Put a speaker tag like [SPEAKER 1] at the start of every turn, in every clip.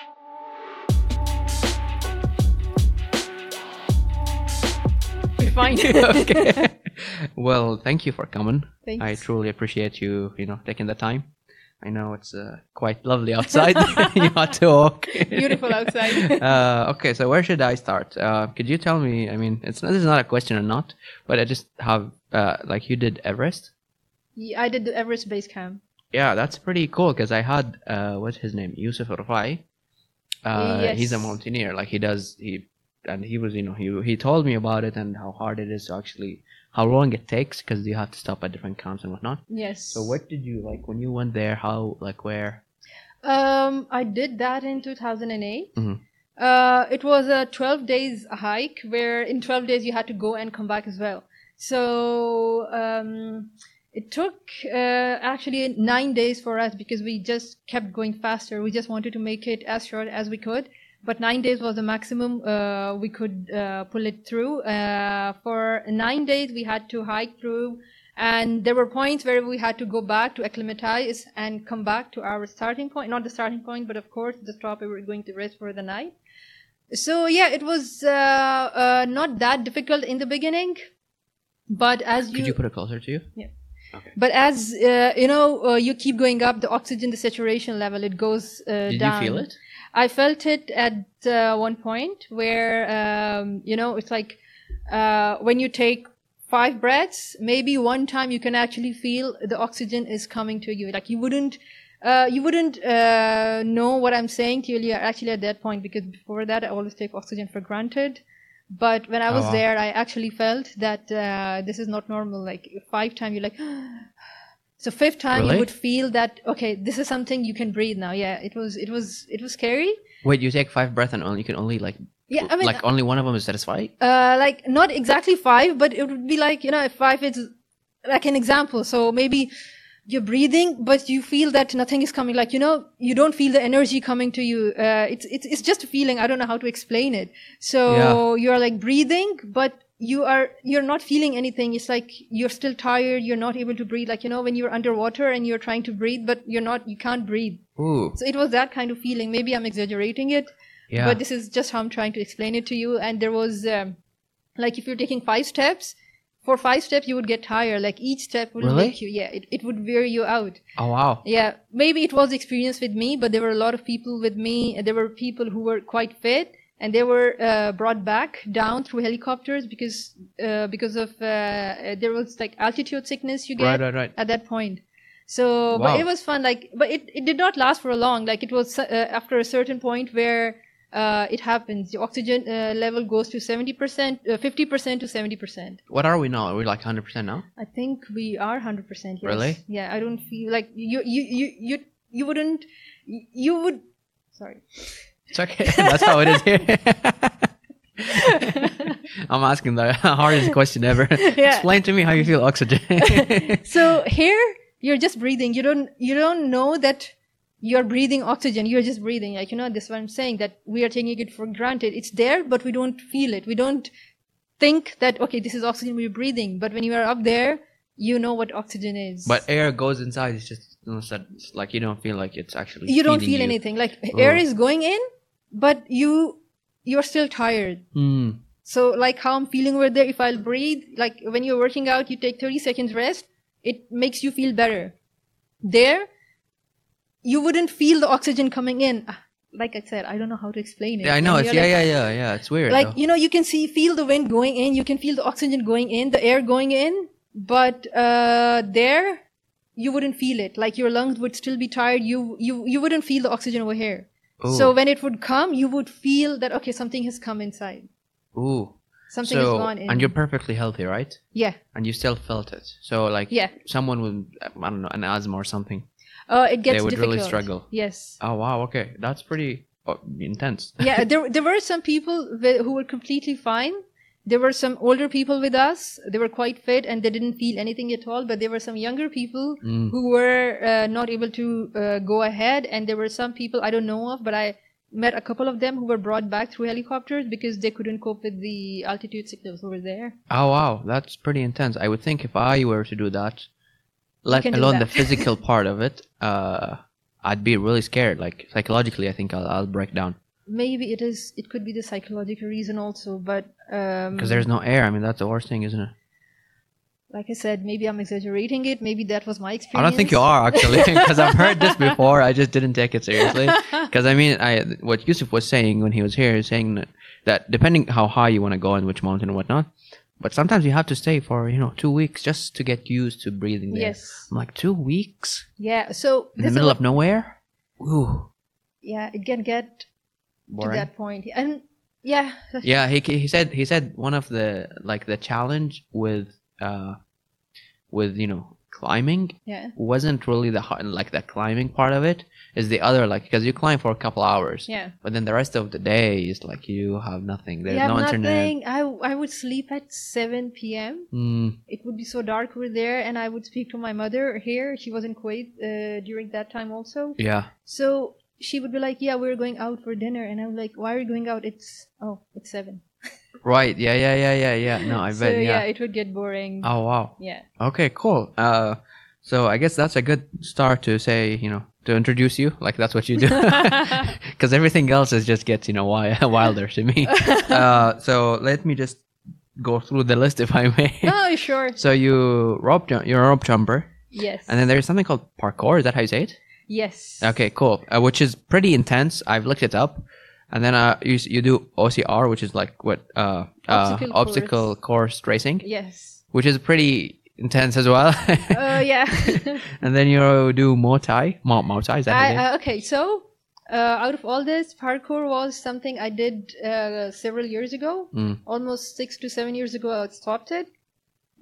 [SPEAKER 1] find you.
[SPEAKER 2] okay. well, thank you for coming.
[SPEAKER 1] Thanks.
[SPEAKER 2] I truly appreciate you, you know, taking the time. I know it's uh, quite lovely outside. your talk.
[SPEAKER 1] Beautiful outside.
[SPEAKER 2] uh, okay, so where should I start? Uh, could you tell me? I mean, it's this is not a question or not, but I just have uh, like you did Everest.
[SPEAKER 1] Yeah, I did the Everest Base Camp.
[SPEAKER 2] Yeah, that's pretty cool because I had uh, what's his name, Yusuf Rafai. Uh, He's a
[SPEAKER 1] Yes.
[SPEAKER 2] mountaineer. Like he does he, and he was you know he he told me about it and how hard it is to actually how long it takes because you have to stop at different camps and whatnot.
[SPEAKER 1] Yes.
[SPEAKER 2] So what did you like when you went there? How like where?
[SPEAKER 1] Um, I did that in 2008.
[SPEAKER 2] Mhm.
[SPEAKER 1] Uh, it was a 12 days hike where in 12 days you had to go and come back as well. So um, it took uh, actually nine days for us because we just kept going faster. We just wanted to make it as short as we could. But nine days was the maximum uh, we could uh, pull it through. Uh, for nine days, we had to hike through and there were points where we had to go back to acclimatize and come back to our starting point not the starting point but of course the stop we were going to rest for the night so yeah it was uh, uh, not that difficult in the beginning but as
[SPEAKER 2] Could you put it closer to you?
[SPEAKER 1] but as uh, you know uh, you keep going up the oxygen the saturation level it goes uh,
[SPEAKER 2] Did
[SPEAKER 1] down
[SPEAKER 2] you feel it?
[SPEAKER 1] I felt it at uh, one point where, um, you know, it's like uh, when you take five breaths, maybe one time you can actually feel the oxygen is coming to you. Like you wouldn't. Uh, you wouldn't uh, know what I'm saying till you're actually at that point because before that I always take oxygen for granted. But when I
[SPEAKER 2] Oh,
[SPEAKER 1] was
[SPEAKER 2] wow.
[SPEAKER 1] there, I actually felt that uh, this is not normal. Like five time, you're like, "Oh, so fifth time
[SPEAKER 2] Really?
[SPEAKER 1] you would feel that okay, this is something you can breathe now. Yeah, it was it was it was scary.
[SPEAKER 2] Wait, you take five breaths and only you can only like
[SPEAKER 1] Yeah, I mean,
[SPEAKER 2] like only one of them is satisfied.
[SPEAKER 1] uh, like not exactly five, but it would be like you know, if five is like an example. So maybe you're breathing, but you feel that nothing is coming. Like you know, you don't feel the energy coming to you. Uh, it's it's it's just a feeling. I don't know how to explain it. So you are like breathing, but you are you're not feeling anything it's like you're still tired you're not able to breathe like you know when you're underwater and you're trying to breathe but you're not you can't breathe
[SPEAKER 2] Ooh,
[SPEAKER 1] so it was that kind of feeling maybe i'm exaggerating it
[SPEAKER 2] yeah.
[SPEAKER 1] but this is just how I'm trying to explain it to you. And there was um, like if you're taking five steps, for five steps you would get tired. Like each step would
[SPEAKER 2] Really?
[SPEAKER 1] make you yeah, it, it would wear you out.
[SPEAKER 2] oh wow.
[SPEAKER 1] Yeah, maybe it was experience with me, but there were a lot of people with me. and There were people who were quite fit, and they were uh, brought back down through helicopters because uh, because of uh, uh, there was like altitude sickness you get
[SPEAKER 2] Right, right, right.
[SPEAKER 1] at that point. So,
[SPEAKER 2] Wow.
[SPEAKER 1] but it was fun. Like, but it, it did not last for long. Like, it was uh, after a certain point where uh, it happens. The oxygen uh, level goes to seventy percent, uh, fifty percent to seventy percent.
[SPEAKER 2] What are we now? Are we like hundred percent now?
[SPEAKER 1] I think we are hundred percent. Yes.
[SPEAKER 2] Really?
[SPEAKER 1] Yeah. I don't feel like you you you you you wouldn't you would. Sorry.
[SPEAKER 2] It's okay. That's how it is here. I'm asking the hardest question ever.
[SPEAKER 1] Yeah.
[SPEAKER 2] Explain to me how you feel oxygen.
[SPEAKER 1] So here you're just breathing. You don't you don't know that you're breathing oxygen. You're just breathing. Like you know, this is what I'm saying that we are taking it for granted. It's there, but we don't feel it. We don't think that okay, this is oxygen we're breathing. But when you are up there, you know what oxygen is.
[SPEAKER 2] but air goes inside. It's just you know, it's that- it's like you don't feel like it's actually.
[SPEAKER 1] you don't
[SPEAKER 2] feeding
[SPEAKER 1] feel
[SPEAKER 2] you.
[SPEAKER 1] anything. Like air
[SPEAKER 2] Oh.
[SPEAKER 1] is going in, but you you're still tired.
[SPEAKER 2] Hmm.
[SPEAKER 1] So like how I'm feeling over there, if I'll breathe, like when you're working out, you take 30 seconds rest, it makes you feel better. There, you wouldn't feel the oxygen coming in. Ah, Like I said, I don't know how to explain it.
[SPEAKER 2] Yeah, I know.
[SPEAKER 1] And
[SPEAKER 2] It's
[SPEAKER 1] you're
[SPEAKER 2] yeah,
[SPEAKER 1] like-
[SPEAKER 2] yeah, yeah, yeah. It's weird.
[SPEAKER 1] Like,
[SPEAKER 2] though.
[SPEAKER 1] you know, you can see, feel the wind going in, you can feel the oxygen going in, the air going in, but uh, there, you wouldn't feel it. Like your lungs would still be tired. You, you, you wouldn't feel the oxygen over here.
[SPEAKER 2] Ooh.
[SPEAKER 1] So when it would come, you would feel that, okay, something has come inside.
[SPEAKER 2] Ooh.
[SPEAKER 1] Something has
[SPEAKER 2] So
[SPEAKER 1] gone in.
[SPEAKER 2] and you're perfectly healthy, right?
[SPEAKER 1] Yeah,
[SPEAKER 2] And you still felt it. So like
[SPEAKER 1] yeah.
[SPEAKER 2] someone with I don't know an asthma or something.
[SPEAKER 1] Uh, it gets
[SPEAKER 2] they would
[SPEAKER 1] difficult.
[SPEAKER 2] really struggle.
[SPEAKER 1] Yes.
[SPEAKER 2] Oh wow. Okay, that's pretty uh, intense.
[SPEAKER 1] yeah, there there were some people wi- who were completely fine. There were some older people with us. They were quite fit and they didn't feel anything at all. But there were some younger people
[SPEAKER 2] Mm.
[SPEAKER 1] who were uh, not able to uh, go ahead. And there were some people I don't know of, but I met a couple of them who were brought back through helicopters because they couldn't cope with the altitude sickness over there.
[SPEAKER 2] Oh wow, that's pretty intense. I would think if I were to do that, let
[SPEAKER 1] can do
[SPEAKER 2] alone
[SPEAKER 1] that.
[SPEAKER 2] the physical part of it, uh, I'd be really scared. Like psychologically, I think I'll, I'll break down.
[SPEAKER 1] maybe it is. It could be the psychological reason also, but um,
[SPEAKER 2] Because there's no air. I mean, that's the worst thing, isn't it?
[SPEAKER 1] like I said, maybe I'm exaggerating it. Maybe that was my experience.
[SPEAKER 2] I don't think you are actually, because I've heard this before. I just didn't take it seriously. Because I mean, I what Yusuf was saying when he was here, saying that, that depending how high you want to go and which mountain and whatnot, but sometimes you have to stay for you know two weeks just to get used to breathing there.
[SPEAKER 1] yes.
[SPEAKER 2] I'm like two weeks
[SPEAKER 1] Yeah. So this
[SPEAKER 2] in the
[SPEAKER 1] is
[SPEAKER 2] middle
[SPEAKER 1] what-
[SPEAKER 2] of nowhere. Ooh,
[SPEAKER 1] yeah, it can get to
[SPEAKER 2] boring.
[SPEAKER 1] that point, and yeah, that's-
[SPEAKER 2] yeah he he said he said one of the like the challenge with uh with you know climbing
[SPEAKER 1] yeah,
[SPEAKER 2] wasn't really the hard, like the climbing part of it is the other like because you climb for a couple hours
[SPEAKER 1] yeah.
[SPEAKER 2] but then the rest of the day is like you have nothing there's
[SPEAKER 1] yeah,
[SPEAKER 2] no internet
[SPEAKER 1] nothing. I I would sleep at seven p.m.
[SPEAKER 2] mm,
[SPEAKER 1] it would be so dark over there and i would speak to my mother here she was in kuwait uh, during that time also
[SPEAKER 2] yeah
[SPEAKER 1] so she would be like yeah we're going out for dinner and i'm like why are you going out it's oh it's seven
[SPEAKER 2] right yeah yeah yeah yeah yeah no i
[SPEAKER 1] so,
[SPEAKER 2] bet
[SPEAKER 1] yeah
[SPEAKER 2] yeah.
[SPEAKER 1] it would get boring
[SPEAKER 2] oh wow
[SPEAKER 1] yeah
[SPEAKER 2] okay cool uh so i guess that's a good start to say you know to introduce you like that's what you do because everything else is just gets you know wi- wilder to me uh so let me just go through the list if i may
[SPEAKER 1] oh sure
[SPEAKER 2] so you rope jump you're a rope jumper
[SPEAKER 1] yes
[SPEAKER 2] And then there's something called parkour. Is that how you say it?
[SPEAKER 1] yes
[SPEAKER 2] Okay, cool. Uh, which is pretty intense. I've looked it up. And then uh, you s- you do OCR, which is like what uh, uh
[SPEAKER 1] Obstacle
[SPEAKER 2] obstacle course racing,
[SPEAKER 1] yes
[SPEAKER 2] which is pretty intense as well.
[SPEAKER 1] uh, yeah
[SPEAKER 2] and then you do Muay Thai. Mu- Muay Thai is that
[SPEAKER 1] I,
[SPEAKER 2] it?
[SPEAKER 1] uh, okay so uh, out of all this parkour was something i did uh, several years ago
[SPEAKER 2] Mm.
[SPEAKER 1] almost six to seven years ago i stopped it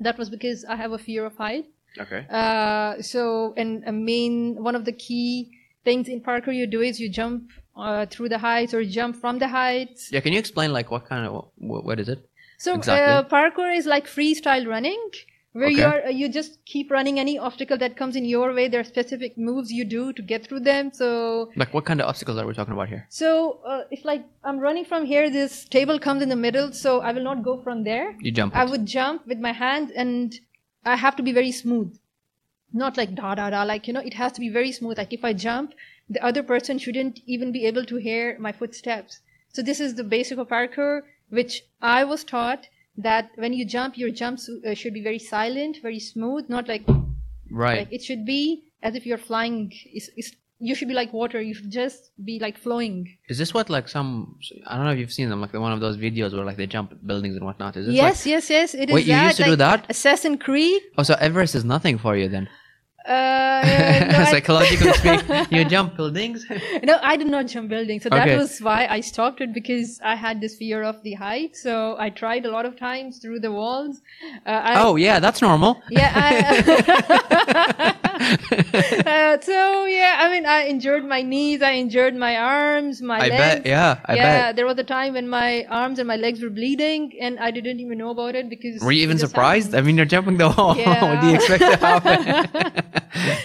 [SPEAKER 1] that was because i have a fear of height
[SPEAKER 2] okay.
[SPEAKER 1] Uh, so and a main one of the key things in parkour you do is you jump uh, through the heights or jump from the heights
[SPEAKER 2] Yeah. Can you explain like what kind of what, what is it?
[SPEAKER 1] so uh,
[SPEAKER 2] Exactly.
[SPEAKER 1] parkour is like freestyle running where
[SPEAKER 2] Okay.
[SPEAKER 1] you are you just keep running any obstacle that comes in your way there are specific moves you do to get through them so
[SPEAKER 2] Like what kind of obstacles are we talking about here?
[SPEAKER 1] so uh, if like i'm running from here this table comes in the middle so i will not go from there
[SPEAKER 2] You jump.
[SPEAKER 1] I
[SPEAKER 2] it.
[SPEAKER 1] would jump with my hands and I have to be very smooth. Not like da da da, like, you know, it has to be very smooth. Like, if I jump, the other person shouldn't even be able to hear my footsteps. So, this is the basic of parkour, which I was taught that when you jump, your jumps uh, should be very silent, very smooth, not like,
[SPEAKER 2] right.
[SPEAKER 1] like it should be as if you're flying. It's, it's, you should be like water, you should just be like flowing.
[SPEAKER 2] Is this what like some? I don't know if you've seen them. Like the one of those videos where like they jump buildings and whatnot. Is this
[SPEAKER 1] Yes, yes, yes, it is
[SPEAKER 2] Like, wait, you
[SPEAKER 1] that.
[SPEAKER 2] used to do
[SPEAKER 1] like
[SPEAKER 2] that?
[SPEAKER 1] Assassin Creed.
[SPEAKER 2] Oh, so Everest is nothing for you then?
[SPEAKER 1] Uh, no, I-
[SPEAKER 2] Psychologically speaking, you jump buildings.
[SPEAKER 1] No, I did not jump building. So
[SPEAKER 2] Okay.
[SPEAKER 1] that was why I stopped it because I had this fear of the height. So I tried a lot of times through the walls. Uh, I,
[SPEAKER 2] oh yeah, that's normal.
[SPEAKER 1] Yeah. I, uh, so, yeah, I mean, I injured my knees, I injured my arms, my
[SPEAKER 2] I
[SPEAKER 1] legs.
[SPEAKER 2] bet. Yeah, I
[SPEAKER 1] yeah,
[SPEAKER 2] bet.
[SPEAKER 1] there was a time when my arms and my legs were bleeding and I didn't even know about it because.
[SPEAKER 2] Were you
[SPEAKER 1] it
[SPEAKER 2] even
[SPEAKER 1] just
[SPEAKER 2] surprised?
[SPEAKER 1] happened.
[SPEAKER 2] I mean, you're jumping the wall. what do you
[SPEAKER 1] Yeah.
[SPEAKER 2] expect to happen?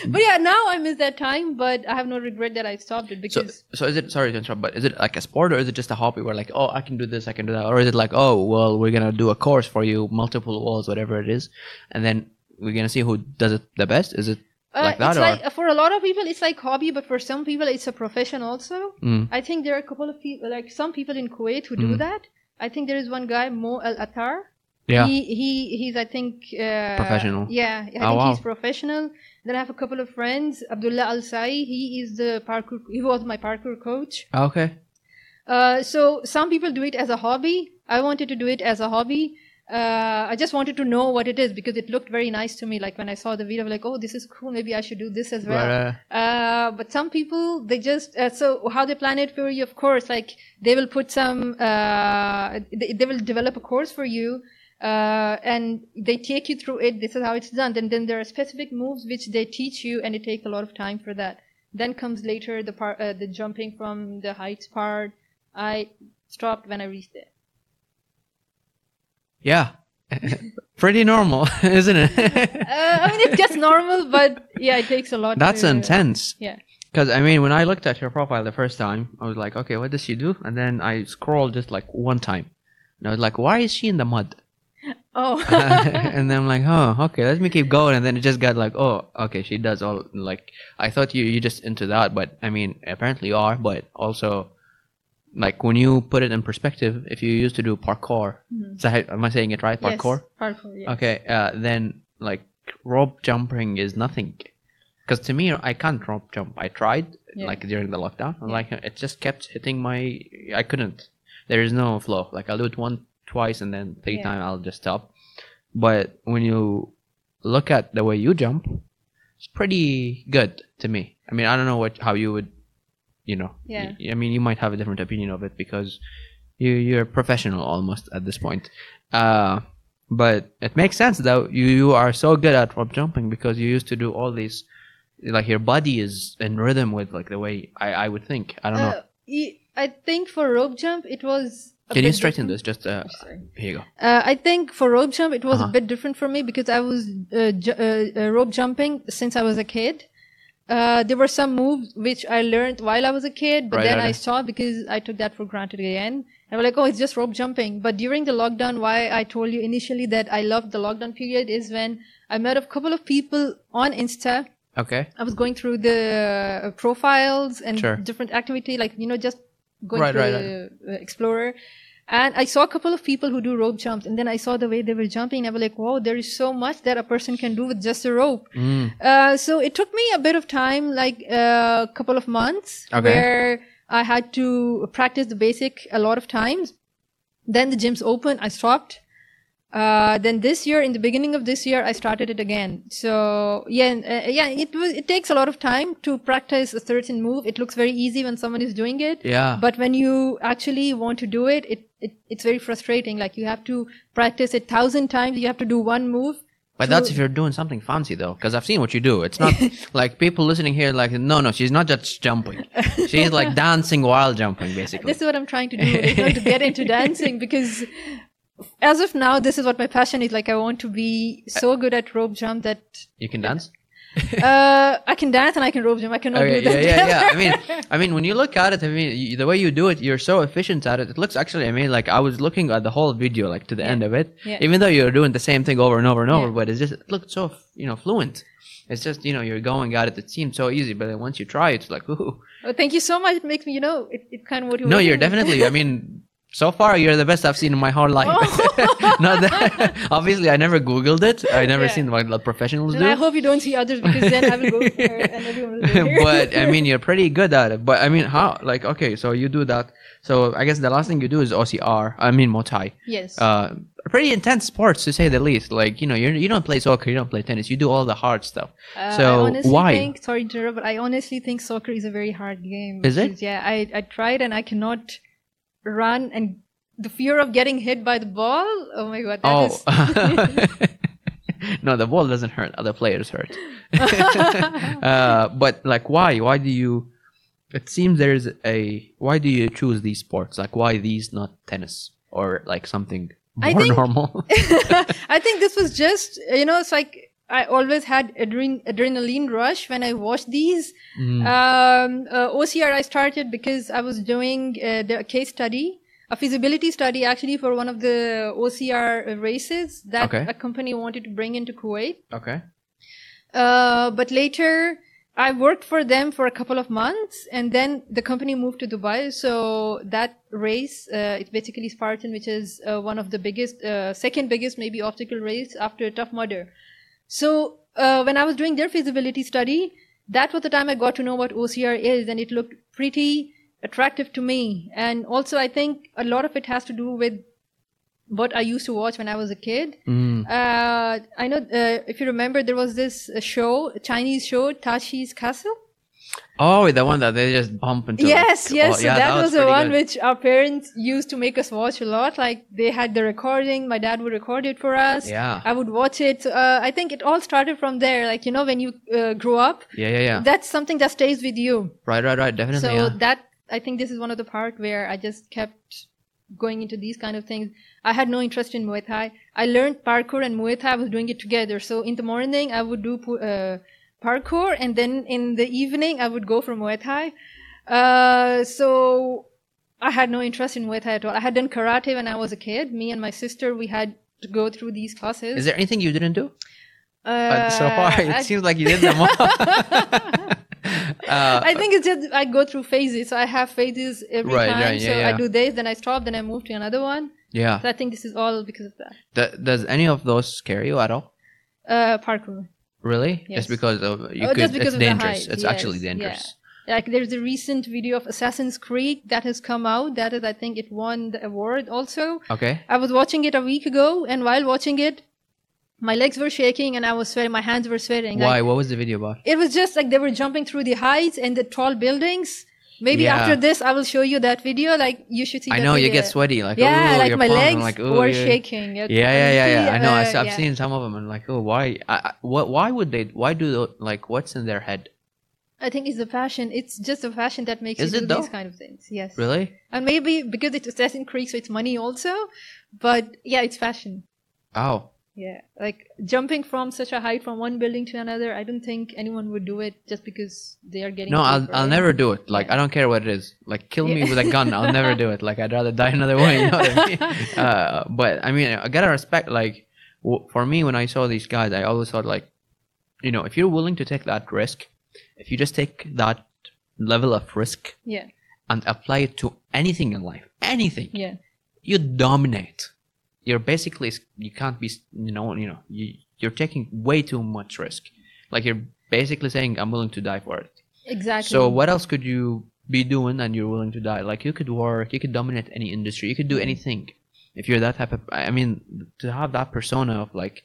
[SPEAKER 1] But yeah, now I miss that time, but I have no regret that I stopped it
[SPEAKER 2] so,
[SPEAKER 1] because.
[SPEAKER 2] so is it? Sorry to interrupt, but is it like a sport or is it just a hobby? Where like, oh, I can do this, I can do that, or is it like, oh, well, we're gonna do a course for you, multiple walls, whatever it is, and then we're gonna see who does it the best. Is it? like that,
[SPEAKER 1] Uh, it's
[SPEAKER 2] or-
[SPEAKER 1] like for a lot of people it's like hobby but for some people it's a profession also
[SPEAKER 2] Mm,
[SPEAKER 1] i think there are a couple of people like some people in kuwait who
[SPEAKER 2] Mm.
[SPEAKER 1] do that i think there is one guy mo al attar
[SPEAKER 2] yeah.
[SPEAKER 1] he, he he's i think uh,
[SPEAKER 2] Professional. Oh,
[SPEAKER 1] yeah i think
[SPEAKER 2] wow.
[SPEAKER 1] he's professional then i have a couple of friends abdullah al sai he is the parkour he was my parkour coach
[SPEAKER 2] Okay.
[SPEAKER 1] uh, so some people do it as a hobby. I wanted to do it as a hobby. Uh, I just wanted to know what it is because it looked very nice to me. Like when I saw the video, I'm like, oh, this is cool. Maybe I should do this as well.
[SPEAKER 2] Right,
[SPEAKER 1] Uh, but some people, they just uh, so how they plan it for you. Of course, like they will put some, uh, they, they will develop a course for you, uh, and they take you through it. This is how it's done. And then there are specific moves which they teach you, and it takes a lot of time for that. Then comes later the part, uh, the jumping from the heights part. I stopped when I reached there.
[SPEAKER 2] Yeah. Pretty normal, isn't it?
[SPEAKER 1] Uh, I mean, it's just normal, but yeah, it takes a lot.
[SPEAKER 2] That's
[SPEAKER 1] to-
[SPEAKER 2] intense.
[SPEAKER 1] Yeah.
[SPEAKER 2] Because, I mean, when I looked at your profile the first time, I was like, okay, what does she do? And then I scrolled just like one time. And I was like, why is she in the mud?
[SPEAKER 1] Oh.
[SPEAKER 2] and then I'm like, oh, okay, let me keep going. And then it just got like, oh, okay, she does all, like, I thought you, you just into that, but I mean, apparently you are, but also like when you put it in perspective, if you used to do parkour, so how, am I saying it right? Parkour.
[SPEAKER 1] Hmm. Yes, parkour. Yeah.
[SPEAKER 2] Okay, uh, then like rope jumping is nothing, because to me I can't rope jump. I tried
[SPEAKER 1] Yeah.
[SPEAKER 2] like during the lockdown, and
[SPEAKER 1] Yeah.
[SPEAKER 2] like it just kept hitting my. I couldn't. There is no flow. Like I'll do it one, twice, and then three
[SPEAKER 1] Yeah.
[SPEAKER 2] time I'll just stop. But when you look at the way you jump, it's pretty good to me. I mean, I don't know what how you would, you know.
[SPEAKER 1] Yeah.
[SPEAKER 2] y- I mean, you might have a different opinion of it because you you're a professional almost at this point. Uh, but it makes sense though. You you are so good at rope jumping because you used to do all these. Like your body is in rhythm with like the way I, I would think. I don't know.
[SPEAKER 1] Uh, e- I think for rope jump it was. a
[SPEAKER 2] Can you
[SPEAKER 1] bit
[SPEAKER 2] straighten
[SPEAKER 1] different. Oh,
[SPEAKER 2] this? Just uh,
[SPEAKER 1] Sorry.
[SPEAKER 2] here you go.
[SPEAKER 1] Uh, I think for rope jump, it was
[SPEAKER 2] Uh-huh.
[SPEAKER 1] a bit different for me because I was uh, ju- uh, uh, rope jumping since I was a kid. Uh, there were some moves which I learned while I was a kid, but
[SPEAKER 2] Right,
[SPEAKER 1] then
[SPEAKER 2] right,
[SPEAKER 1] I
[SPEAKER 2] right.
[SPEAKER 1] saw because I took that for granted again. I was like, oh, it's just rope jumping. But during the lockdown, why I told you initially that I loved the lockdown period is when I met a couple of people on Insta
[SPEAKER 2] Okay.
[SPEAKER 1] I was going through the uh, profiles and
[SPEAKER 2] Sure.
[SPEAKER 1] different activity, like you know, just going
[SPEAKER 2] Right,
[SPEAKER 1] through
[SPEAKER 2] right,
[SPEAKER 1] the uh, Explorer. And I saw a couple of people who do rope jumps, and then I saw the way they were jumping. And I was like, "Wow, there is so much that a person can do with just a rope."
[SPEAKER 2] Mm.
[SPEAKER 1] Uh, so it took me a bit of time, like uh, a couple of months,
[SPEAKER 2] Okay.
[SPEAKER 1] where I had to practice the basic a lot of times. Then the gyms opened, I stopped. Uh, then this year, in the beginning of this year, I started it again. So yeah, and, uh, yeah, it was. It takes a lot of time to practice a certain move. It looks very easy when someone is doing it,
[SPEAKER 2] Yeah.
[SPEAKER 1] but when you actually want to do it, it, it it's very frustrating. Like you have to practice it thousand times. You have to do one move.
[SPEAKER 2] But that's
[SPEAKER 1] to-
[SPEAKER 2] if you're doing something fancy though, because I've seen what you do. It's not like people listening here like, no, no, she's not just jumping. She's like dancing while jumping, basically.
[SPEAKER 1] This is what I'm trying to do. is not to get into dancing because as of now, this is what my passion is. Like I want to be so good at rope jump that
[SPEAKER 2] You can dance.
[SPEAKER 1] uh, I can dance and I can rope jump. I cannot
[SPEAKER 2] Okay,
[SPEAKER 1] do
[SPEAKER 2] yeah,
[SPEAKER 1] that.
[SPEAKER 2] yeah, yeah. I mean, I mean, when you look at it, I mean, you, the way you do it, you're so efficient at it. It looks actually, I mean, like I was looking at the whole video, like to the end of it,
[SPEAKER 1] Yeah.
[SPEAKER 2] even though you're doing the same thing over and over and over,
[SPEAKER 1] Yeah.
[SPEAKER 2] but it's just it looked so you know fluent. It's just you know you're going at it. It seems so easy, but then once you try, it, it's like ooh.
[SPEAKER 1] Well, thank you so much. It makes me, you know, it, it kind of motivates.
[SPEAKER 2] No, you're
[SPEAKER 1] me.
[SPEAKER 2] definitely. I mean, so far you're the best I've seen in my whole life. Not that obviously I never Googled it. I never
[SPEAKER 1] Oh. Yeah.
[SPEAKER 2] seen what the professionals
[SPEAKER 1] And I
[SPEAKER 2] do.
[SPEAKER 1] hope you don't see others because then I will go there and everyone will go there.
[SPEAKER 2] but um, I mean, you're pretty good at it. But I mean, how? Like, okay, so you do that. So I guess the last thing you do is OCR. I mean, Muay Thai.
[SPEAKER 1] yes.
[SPEAKER 2] Uh, pretty intense sports to say the least. Like, you know, you're, you don't play soccer, you don't play tennis, you do all the hard stuff.
[SPEAKER 1] Uh,
[SPEAKER 2] so
[SPEAKER 1] I honestly
[SPEAKER 2] why?
[SPEAKER 1] Think, sorry to interrupt, but I honestly think soccer is a very hard game.
[SPEAKER 2] Is it?
[SPEAKER 1] because, Yeah, I, I tried and I cannot run, and the fear of getting hit by the ball. Oh my god, that
[SPEAKER 2] oh.
[SPEAKER 1] is
[SPEAKER 2] no, the ball doesn't hurt. Other players hurt. uh, but like, why? Why do you? It seems there's a. Why do you choose these sports? Like, why these, not tennis or like something
[SPEAKER 1] I
[SPEAKER 2] more
[SPEAKER 1] think-
[SPEAKER 2] normal?
[SPEAKER 1] I think this was just you know it's like I always had adren- adrenaline rush when I watched these.
[SPEAKER 2] Mm,
[SPEAKER 1] Um, uh, OCR I started because I was doing uh, the case study, a feasibility study actually for one of the OCR races that
[SPEAKER 2] Okay.
[SPEAKER 1] a company wanted to bring into Kuwait.
[SPEAKER 2] okay.
[SPEAKER 1] Uh, but later I worked for them for a couple of months and then the company moved to Dubai. So that race, uh, it's basically Spartan, which is uh, one of the biggest, uh, second biggest maybe obstacle race after Tough Mudder. So uh, when I was doing their feasibility study, that was the time I got to know what OCR is and it looked pretty attractive to me. And also I think a lot of it has to do with what I used to watch when I was a kid.
[SPEAKER 2] Mm,
[SPEAKER 1] Uh, I know uh, if you remember, there was this uh, show, a Chinese show, Tashi's Castle.
[SPEAKER 2] oh, the one that they just bump into.
[SPEAKER 1] yes,
[SPEAKER 2] Oh,
[SPEAKER 1] yes. so
[SPEAKER 2] yeah,
[SPEAKER 1] that, was, the
[SPEAKER 2] pretty
[SPEAKER 1] one
[SPEAKER 2] good.
[SPEAKER 1] which our parents used to make us watch a lot. Like they had the recording. My dad would record it for us.
[SPEAKER 2] Yeah.
[SPEAKER 1] I would watch it. Uh, I think it all started from there. Like you know, when you uh, grow up,
[SPEAKER 2] Yeah, yeah, yeah.
[SPEAKER 1] that's something that stays with you.
[SPEAKER 2] right, right, right. Definitely.
[SPEAKER 1] So
[SPEAKER 2] yeah.
[SPEAKER 1] that I think this is one of the part where I just kept going into these kind of things. I had no interest in Muay Thai. I learned parkour and Muay Thai. I was doing it together. So in the morning I would do pu- uh, parkour, and then in the evening I would go for Muay Thai. Uh, so I had no interest in Muay Thai at all. I had done karate when I was a kid. Me and my sister we had to go through these classes.
[SPEAKER 2] Is there anything you didn't do?
[SPEAKER 1] uh,
[SPEAKER 2] Uh, so far, it
[SPEAKER 1] I-
[SPEAKER 2] seems like you did them all. Uh,
[SPEAKER 1] I think it's just I go through phases. So I have phases every
[SPEAKER 2] Right,
[SPEAKER 1] time.
[SPEAKER 2] right, yeah,
[SPEAKER 1] so I
[SPEAKER 2] yeah.
[SPEAKER 1] do this, then I stop, then I move to another one.
[SPEAKER 2] yeah.
[SPEAKER 1] So I think this is all because of that.
[SPEAKER 2] Th- does any of those scare you at all?
[SPEAKER 1] Uh, parkour.
[SPEAKER 2] Really?
[SPEAKER 1] Yes.
[SPEAKER 2] Just because of you
[SPEAKER 1] Oh,
[SPEAKER 2] could,
[SPEAKER 1] just because
[SPEAKER 2] it's
[SPEAKER 1] of the
[SPEAKER 2] dangerous.
[SPEAKER 1] height,
[SPEAKER 2] It's
[SPEAKER 1] yes,
[SPEAKER 2] actually
[SPEAKER 1] yeah.
[SPEAKER 2] dangerous.
[SPEAKER 1] Like there's a recent video of Assassin's Creed that has come out. That is, I think, it won the award also.
[SPEAKER 2] Okay.
[SPEAKER 1] I was watching it a week ago, and while watching it, my legs were shaking and I was sweating. My hands were sweating.
[SPEAKER 2] Why?
[SPEAKER 1] Like,
[SPEAKER 2] What was the video about?
[SPEAKER 1] it was just like they were jumping through the heights and the tall buildings. Maybe
[SPEAKER 2] Yeah.
[SPEAKER 1] after this, I will show you that video. Like you should see.
[SPEAKER 2] I
[SPEAKER 1] that
[SPEAKER 2] know you
[SPEAKER 1] video.
[SPEAKER 2] get sweaty, like
[SPEAKER 1] yeah,
[SPEAKER 2] ooh,
[SPEAKER 1] like
[SPEAKER 2] your
[SPEAKER 1] my
[SPEAKER 2] palms, I'm
[SPEAKER 1] legs
[SPEAKER 2] like, ooh,
[SPEAKER 1] were
[SPEAKER 2] yeah.
[SPEAKER 1] shaking. It-
[SPEAKER 2] Yeah, yeah, yeah, yeah. I know. I,
[SPEAKER 1] uh,
[SPEAKER 2] have
[SPEAKER 1] yeah.
[SPEAKER 2] seen some of them, and like, oh, why? I, I, what? Why would they? Why do tho- like? What's in their head?
[SPEAKER 1] I think it's a passion. It's just a passion that makes
[SPEAKER 2] Is
[SPEAKER 1] you
[SPEAKER 2] it
[SPEAKER 1] do
[SPEAKER 2] though?
[SPEAKER 1] these kind of things. Yes,
[SPEAKER 2] Really?
[SPEAKER 1] and maybe because it's Assassin's Creed, so it's money also. But yeah, it's passion.
[SPEAKER 2] Oh,
[SPEAKER 1] Yeah, like jumping from such a height from one building to another. I don't think anyone would do it just because they are getting.
[SPEAKER 2] no, I'll,
[SPEAKER 1] paid for
[SPEAKER 2] I'll
[SPEAKER 1] it.
[SPEAKER 2] never do it. Like,
[SPEAKER 1] Yeah.
[SPEAKER 2] I don't care what it is. Like, kill
[SPEAKER 1] Yeah.
[SPEAKER 2] me with a gun. I'll never do it. Like, I'd rather die another way. You know what I mean? Uh, but I mean, I gotta respect. Like, w- for me, when I saw these guys, I always thought like, you know, if you're willing to take that risk, if you just take that level of risk
[SPEAKER 1] Yeah,
[SPEAKER 2] and apply it to anything in life, anything,
[SPEAKER 1] yeah,
[SPEAKER 2] you dominate. You're basically you can't be you know you know you you're taking way too much risk. Like you're basically saying I'm willing to die for it.
[SPEAKER 1] exactly.
[SPEAKER 2] So what else could you be doing and you're willing to die? Like you could work, you could dominate any industry, you could
[SPEAKER 1] Mm.
[SPEAKER 2] do anything. If you're that type of I mean to have that persona of like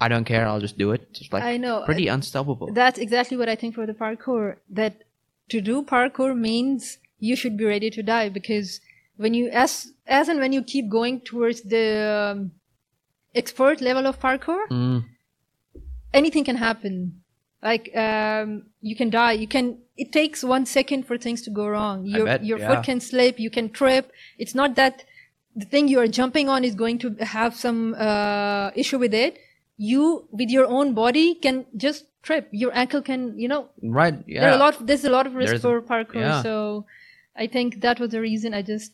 [SPEAKER 2] I don't care, I'll just do it. It's like
[SPEAKER 1] I know.
[SPEAKER 2] pretty unstoppable.
[SPEAKER 1] That's exactly what I think for the parkour. That to do parkour means you should be ready to die because when you as as and when you keep going towards the um, expert level of parkour,
[SPEAKER 2] Mm,
[SPEAKER 1] anything can happen. Like um, you can die. You can. It takes one second for things to go wrong. Your
[SPEAKER 2] bet,
[SPEAKER 1] your
[SPEAKER 2] yeah.
[SPEAKER 1] foot can slip. You can trip. It's not that the thing you are jumping on is going to have some uh, issue with it. You with your own body can just trip. Your ankle can. You know
[SPEAKER 2] right. Yeah.
[SPEAKER 1] there are a lot. There's a lot of risk
[SPEAKER 2] There's-
[SPEAKER 1] for parkour.
[SPEAKER 2] yeah.
[SPEAKER 1] So I think that was the reason I just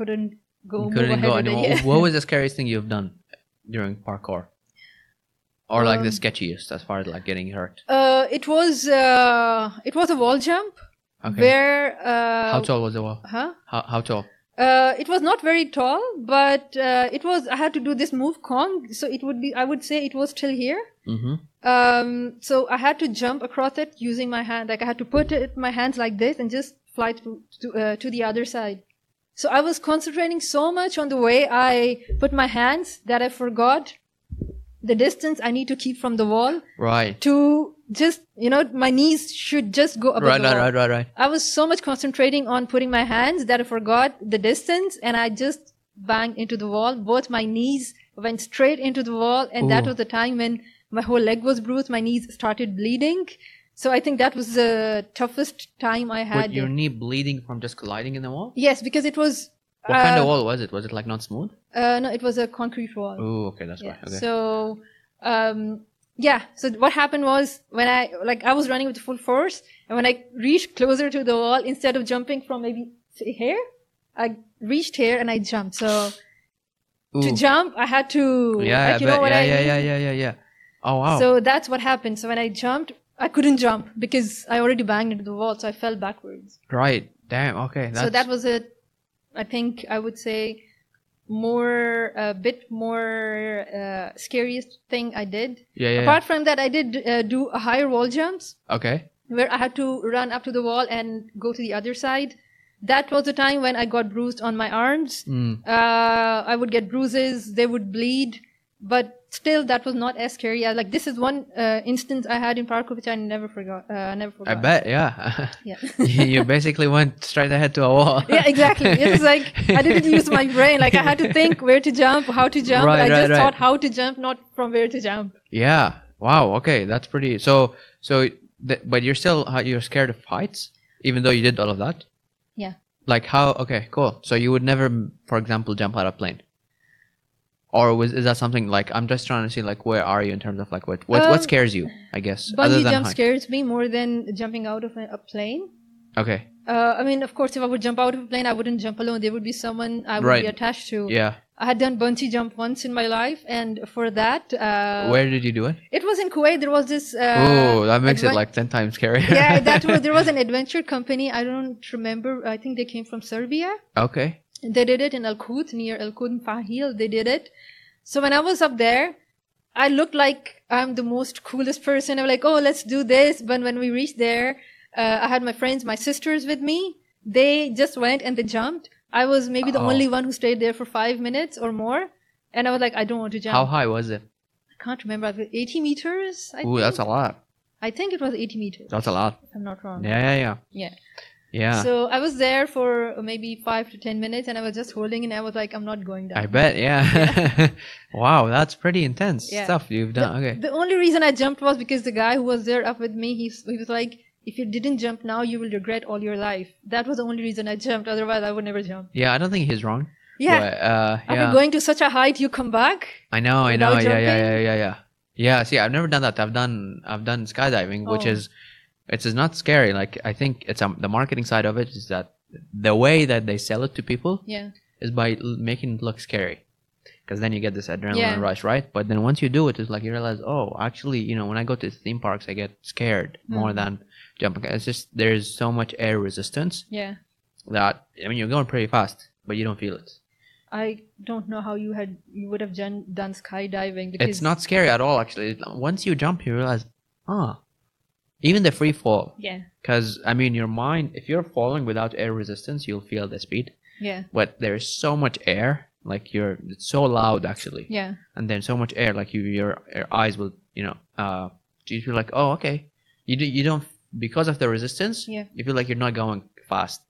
[SPEAKER 1] couldn't go
[SPEAKER 2] You
[SPEAKER 1] move
[SPEAKER 2] couldn't
[SPEAKER 1] ahead
[SPEAKER 2] go
[SPEAKER 1] with it.
[SPEAKER 2] anymore.
[SPEAKER 1] Yeah.
[SPEAKER 2] What was the scariest thing you've done during parkour? Or like the
[SPEAKER 1] Um,
[SPEAKER 2] sketchiest as far as like getting hurt.
[SPEAKER 1] Uh, it was uh, it was a wall jump
[SPEAKER 2] Okay.
[SPEAKER 1] where uh,
[SPEAKER 2] how tall was the wall?
[SPEAKER 1] Huh?
[SPEAKER 2] How, how tall?
[SPEAKER 1] Uh, it was not very tall, but uh, it was. I had to do this move Kong, so it would be. I would say it was till here.
[SPEAKER 2] Mm-hmm.
[SPEAKER 1] Um, so I had to jump across it using my hand. Like I had to put it my hands like this and just fly to to, uh, to the other side. So I was concentrating so much on the way I put my hands that I forgot the distance I need to keep from the wall
[SPEAKER 2] Right.
[SPEAKER 1] to just you know my knees should just go above
[SPEAKER 2] Right,
[SPEAKER 1] the
[SPEAKER 2] right,
[SPEAKER 1] wall.
[SPEAKER 2] right, right, right.
[SPEAKER 1] I was so much concentrating on putting my hands that I forgot the distance and I just banged into the wall. Both my knees went straight into the wall, and that
[SPEAKER 2] Ooh.
[SPEAKER 1] was the time when my whole leg was bruised. My knees started bleeding. So I think that was the toughest time I had.
[SPEAKER 2] With your
[SPEAKER 1] there.
[SPEAKER 2] knee bleeding from just colliding in the wall?
[SPEAKER 1] Yes, because it was.
[SPEAKER 2] What kind
[SPEAKER 1] uh,
[SPEAKER 2] of wall was it? Was it like not smooth?
[SPEAKER 1] Uh, no, it was a concrete wall.
[SPEAKER 2] Oh, okay, that's
[SPEAKER 1] yeah.
[SPEAKER 2] right. Okay.
[SPEAKER 1] So, um, yeah. So what happened was when I like I was running with full force, and when I reached closer to the wall, instead of jumping from maybe here, I reached here and I jumped. So to
[SPEAKER 2] Ooh.
[SPEAKER 1] jump, I had to.
[SPEAKER 2] yeah,
[SPEAKER 1] like, you
[SPEAKER 2] I
[SPEAKER 1] know
[SPEAKER 2] bet.
[SPEAKER 1] what
[SPEAKER 2] yeah,
[SPEAKER 1] I
[SPEAKER 2] yeah,
[SPEAKER 1] mean?
[SPEAKER 2] yeah, yeah, yeah, yeah. Oh wow.
[SPEAKER 1] So that's what happened. So when I jumped, I couldn't jump because I already banged into the wall, so I fell backwards.
[SPEAKER 2] right. Damn. Okay. That's,
[SPEAKER 1] So that was a, I think I would say, more a bit more uh, scariest thing I did.
[SPEAKER 2] yeah, yeah.
[SPEAKER 1] Apart from that, I did uh, do a higher wall jumps
[SPEAKER 2] yeah. Okay.
[SPEAKER 1] where I had to run up to the wall and go to the other side. That was the time when I got bruised on my arms.
[SPEAKER 2] Mm.
[SPEAKER 1] Uh, I would get bruises, they would bleed, but still, that was not as scary. I, like this is one uh, instance I had in parkour which I never forgot. Uh, I never
[SPEAKER 2] I
[SPEAKER 1] forgot.
[SPEAKER 2] bet. Yeah.
[SPEAKER 1] Yeah.
[SPEAKER 2] you basically went straight ahead to a wall.
[SPEAKER 1] yeah, exactly. It's like I didn't use my brain. Like I had to think where to jump, how to jump.
[SPEAKER 2] Right,
[SPEAKER 1] I
[SPEAKER 2] right,
[SPEAKER 1] just
[SPEAKER 2] right.
[SPEAKER 1] thought how to jump, not from where to jump.
[SPEAKER 2] Yeah. Wow. Okay. That's pretty. So so, th- but you're still uh, you're scared of heights, even though you did all of that.
[SPEAKER 1] Yeah.
[SPEAKER 2] Like how? Okay. Cool. So you would never, mm, for example, jump out of plane. Or was is that something like I'm just trying to see like where are you in terms of like what what,
[SPEAKER 1] Um,
[SPEAKER 2] what scares you? I guess other
[SPEAKER 1] Bungee
[SPEAKER 2] than
[SPEAKER 1] jump
[SPEAKER 2] height.
[SPEAKER 1] scares me more than jumping out of a, a plane.
[SPEAKER 2] Okay.
[SPEAKER 1] Uh, I mean, of course, if I would jump out of a plane, I wouldn't jump alone. There would be someone I would be
[SPEAKER 2] Right.
[SPEAKER 1] attached to.
[SPEAKER 2] Yeah.
[SPEAKER 1] I had done bungee jump once in my life, and for that, uh,
[SPEAKER 2] Where did you do it?
[SPEAKER 1] it was in Kuwait. There was this. Uh,
[SPEAKER 2] oh, that makes it
[SPEAKER 1] adven-
[SPEAKER 2] like ten times scarier.
[SPEAKER 1] yeah, that was there was an adventure company. I don't remember. I think they came from Serbia.
[SPEAKER 2] okay.
[SPEAKER 1] They did it in Al Kut near Al Kut and Fahil. They did it. So when I was up there, I looked like I'm the most coolest person. I'm like, oh, let's do this. But when we reached there, uh, I had my friends, my sisters with me. They just went and they jumped. I was maybe the
[SPEAKER 2] Oh.
[SPEAKER 1] only one who stayed there for five minutes or more. And I was like, I don't want to jump.
[SPEAKER 2] How high was it?
[SPEAKER 1] I can't remember. I think 80 meters. I
[SPEAKER 2] Ooh,
[SPEAKER 1] think.
[SPEAKER 2] that's a lot.
[SPEAKER 1] I think it was 80 meters.
[SPEAKER 2] That's a lot.
[SPEAKER 1] if I'm not wrong.
[SPEAKER 2] Yeah, yeah, yeah.
[SPEAKER 1] Yeah.
[SPEAKER 2] Yeah.
[SPEAKER 1] So I was there for maybe five to ten minutes, and I was just holding, and I was like, I'm not going down.
[SPEAKER 2] I bet, yeah. wow, that's pretty intense
[SPEAKER 1] Yeah.
[SPEAKER 2] stuff you've
[SPEAKER 1] The,
[SPEAKER 2] done. Okay.
[SPEAKER 1] the only reason I jumped was because the guy who was there up with me, he, s- he was like, if you didn't jump now, you will regret all your life. That was the only reason I jumped. Otherwise, I would never jump.
[SPEAKER 2] Yeah, I don't think he's wrong.
[SPEAKER 1] Yeah.
[SPEAKER 2] But, uh,
[SPEAKER 1] After
[SPEAKER 2] yeah.
[SPEAKER 1] going to such a height, you come back.
[SPEAKER 2] I know, I know.
[SPEAKER 1] without
[SPEAKER 2] Yeah, yeah, yeah,
[SPEAKER 1] jumping?
[SPEAKER 2] yeah, yeah. Yeah, see, I've never done that. I've done I've done skydiving, which
[SPEAKER 1] Oh.
[SPEAKER 2] is it's is not scary. Like I think it's um, the marketing side of it is that the way that they sell it to people
[SPEAKER 1] Yeah.
[SPEAKER 2] is by l- making it look scary. Because then you get this adrenaline
[SPEAKER 1] Yeah.
[SPEAKER 2] rush, right? But then once you do it, it's like you realize, oh, actually, you know, when I go to theme parks, I get scared more
[SPEAKER 1] Mhm.
[SPEAKER 2] than jumping. It's just there's so much air resistance
[SPEAKER 1] Yeah.
[SPEAKER 2] that I mean, you're going pretty fast, but you don't feel it.
[SPEAKER 1] I don't know how you had you would have done, done skydiving because
[SPEAKER 2] It's not scary at all, actually. It- Once you jump, you realize, ah, even the free fall.
[SPEAKER 1] Yeah.
[SPEAKER 2] Because I mean, your mind, if you're falling without air resistance, you'll feel the speed.
[SPEAKER 1] Yeah.
[SPEAKER 2] But there's so much air, like you're it's so loud actually.
[SPEAKER 1] Yeah.
[SPEAKER 2] and then so much air like you your, your eyes will you know uh you feel like oh okay you do, you don't because of the resistance
[SPEAKER 1] Yeah.
[SPEAKER 2] you feel like you're not going fast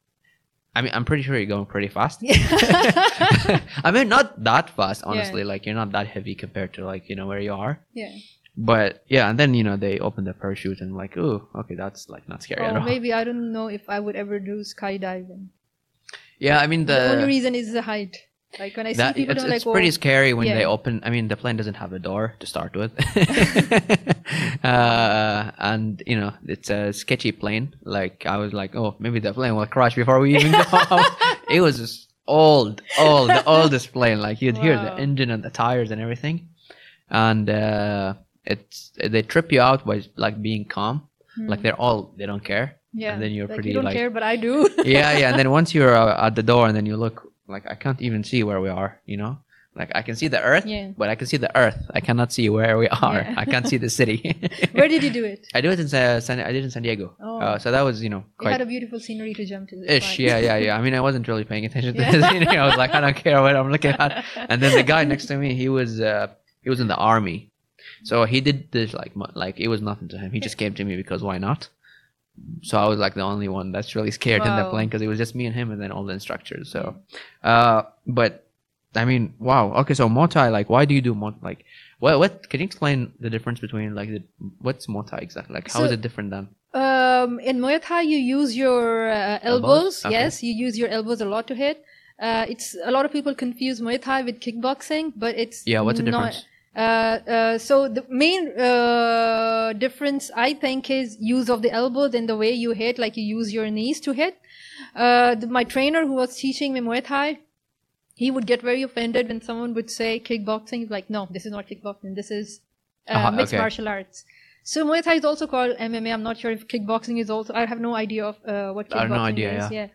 [SPEAKER 2] i mean i'm pretty sure you're going pretty fast
[SPEAKER 1] Yeah.
[SPEAKER 2] i mean not that fast honestly like you're not that heavy compared to like you know where you are
[SPEAKER 1] yeah.
[SPEAKER 2] but yeah and then you know they open the parachute and like oh okay that's like not scary at
[SPEAKER 1] Or
[SPEAKER 2] all
[SPEAKER 1] Oh, maybe I don't know if I would ever do skydiving.
[SPEAKER 2] yeah i mean the,
[SPEAKER 1] The, only reason is the height. Like when I
[SPEAKER 2] that-
[SPEAKER 1] see people,
[SPEAKER 2] it's,
[SPEAKER 1] I'm
[SPEAKER 2] it's
[SPEAKER 1] like,
[SPEAKER 2] pretty
[SPEAKER 1] oh,
[SPEAKER 2] scary when
[SPEAKER 1] yeah.
[SPEAKER 2] they open. I mean, the plane doesn't have a door to start with, uh, and you know it's a sketchy plane. Like I was like, oh, maybe the plane will crash before we even go. it was just old, old, the oldest plane. Like you'd hear the
[SPEAKER 1] Wow.
[SPEAKER 2] engine and the tires and everything, and uh, it's they trip you out by like being calm.
[SPEAKER 1] hmm,
[SPEAKER 2] Like they're all they don't care.
[SPEAKER 1] yeah.
[SPEAKER 2] and then you're
[SPEAKER 1] like,
[SPEAKER 2] pretty,
[SPEAKER 1] you don't
[SPEAKER 2] like-
[SPEAKER 1] care, but I do.
[SPEAKER 2] yeah, yeah. And then once you're uh, at the door, and then you look like I can't even see where we are. You know, like I can see the earth,
[SPEAKER 1] Yeah.
[SPEAKER 2] but I can see the earth. I cannot see where we are.
[SPEAKER 1] Yeah.
[SPEAKER 2] I can't see the city.
[SPEAKER 1] Where did you do it?
[SPEAKER 2] I do it in Sa- San. I did it in San Diego.
[SPEAKER 1] Oh.
[SPEAKER 2] Uh, so that was you know
[SPEAKER 1] You had
[SPEAKER 2] quite
[SPEAKER 1] a beautiful scenery to jump to. it's
[SPEAKER 2] ish.
[SPEAKER 1] fine.
[SPEAKER 2] Yeah, yeah, yeah. I mean, I wasn't really paying attention to
[SPEAKER 1] Yeah.
[SPEAKER 2] the city. I was like, I don't care what I'm looking at. And then the guy next to me, he was uh, he was in the army, so he did this like mu- like it was nothing to him. He just came to me because why not? So I was like the only one that's really scared in the
[SPEAKER 1] Wow.
[SPEAKER 2] plane because it was just me and him and then all the instructors. So, uh, but I mean, wow. Okay, so Motai, like, why do you do Motai? Like, what what can you explain the difference between like the what's Motai exactly? Like, how is
[SPEAKER 1] So-
[SPEAKER 2] it different than?
[SPEAKER 1] Um, in Muay Thai, you use your uh,
[SPEAKER 2] Elbows?
[SPEAKER 1] elbows.
[SPEAKER 2] Okay.
[SPEAKER 1] Yes, you use your elbows a lot to hit. Uh, it's a lot of people confuse Muay Thai with kickboxing, but it's
[SPEAKER 2] Yeah, what's the
[SPEAKER 1] not-
[SPEAKER 2] difference?
[SPEAKER 1] Uh, uh, so the main uh, difference I think is use of the elbows and the way you hit, like you use your knees to hit. Uh, the, my trainer who was teaching me Muay Thai, he would get very offended when someone would say kickboxing. He's like, no, this is not kickboxing. This is uh,
[SPEAKER 2] Uh-huh,
[SPEAKER 1] mixed
[SPEAKER 2] okay.
[SPEAKER 1] martial arts. So Muay Thai is also called MMA. I'm not sure if kickboxing is also. I have no idea of uh, what kickboxing
[SPEAKER 2] I have no idea,
[SPEAKER 1] is. Yeah.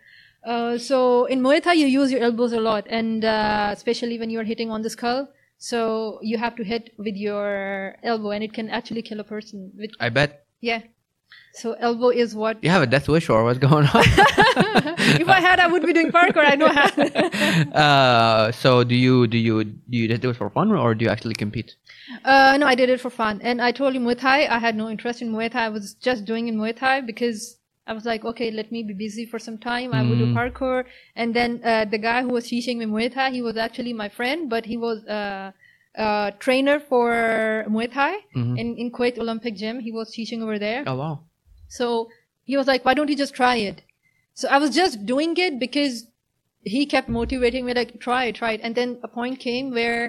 [SPEAKER 1] Uh, so in Muay Thai, you use your elbows a lot, and uh, especially when you are hitting on the skull. So you have to hit with your elbow, and it can actually kill a person. With
[SPEAKER 2] I bet
[SPEAKER 1] yeah. So elbow is what.
[SPEAKER 2] you have a death wish or what's going on?
[SPEAKER 1] if I had, I would be doing parkour. I know how.
[SPEAKER 2] uh, so do you do you do you do it for fun or do you actually compete?
[SPEAKER 1] Uh, no, I did it for fun. And I told you Muay Thai, I had no interest in Muay Thai. I was just doing in Muay Thai because I was like, okay, let me be busy for some time. I will do
[SPEAKER 2] Mm.
[SPEAKER 1] parkour. And then uh, the guy who was teaching me Muay Thai, he was actually my friend, but he was a uh, uh, trainer for Muay Thai
[SPEAKER 2] Mhm.
[SPEAKER 1] in, in Kuwait Olympic Gym. He was teaching over there.
[SPEAKER 2] Oh wow!
[SPEAKER 1] So he was like, why don't you just try it? So I was just doing it because he kept motivating me, like, try it, try it. And then a point came where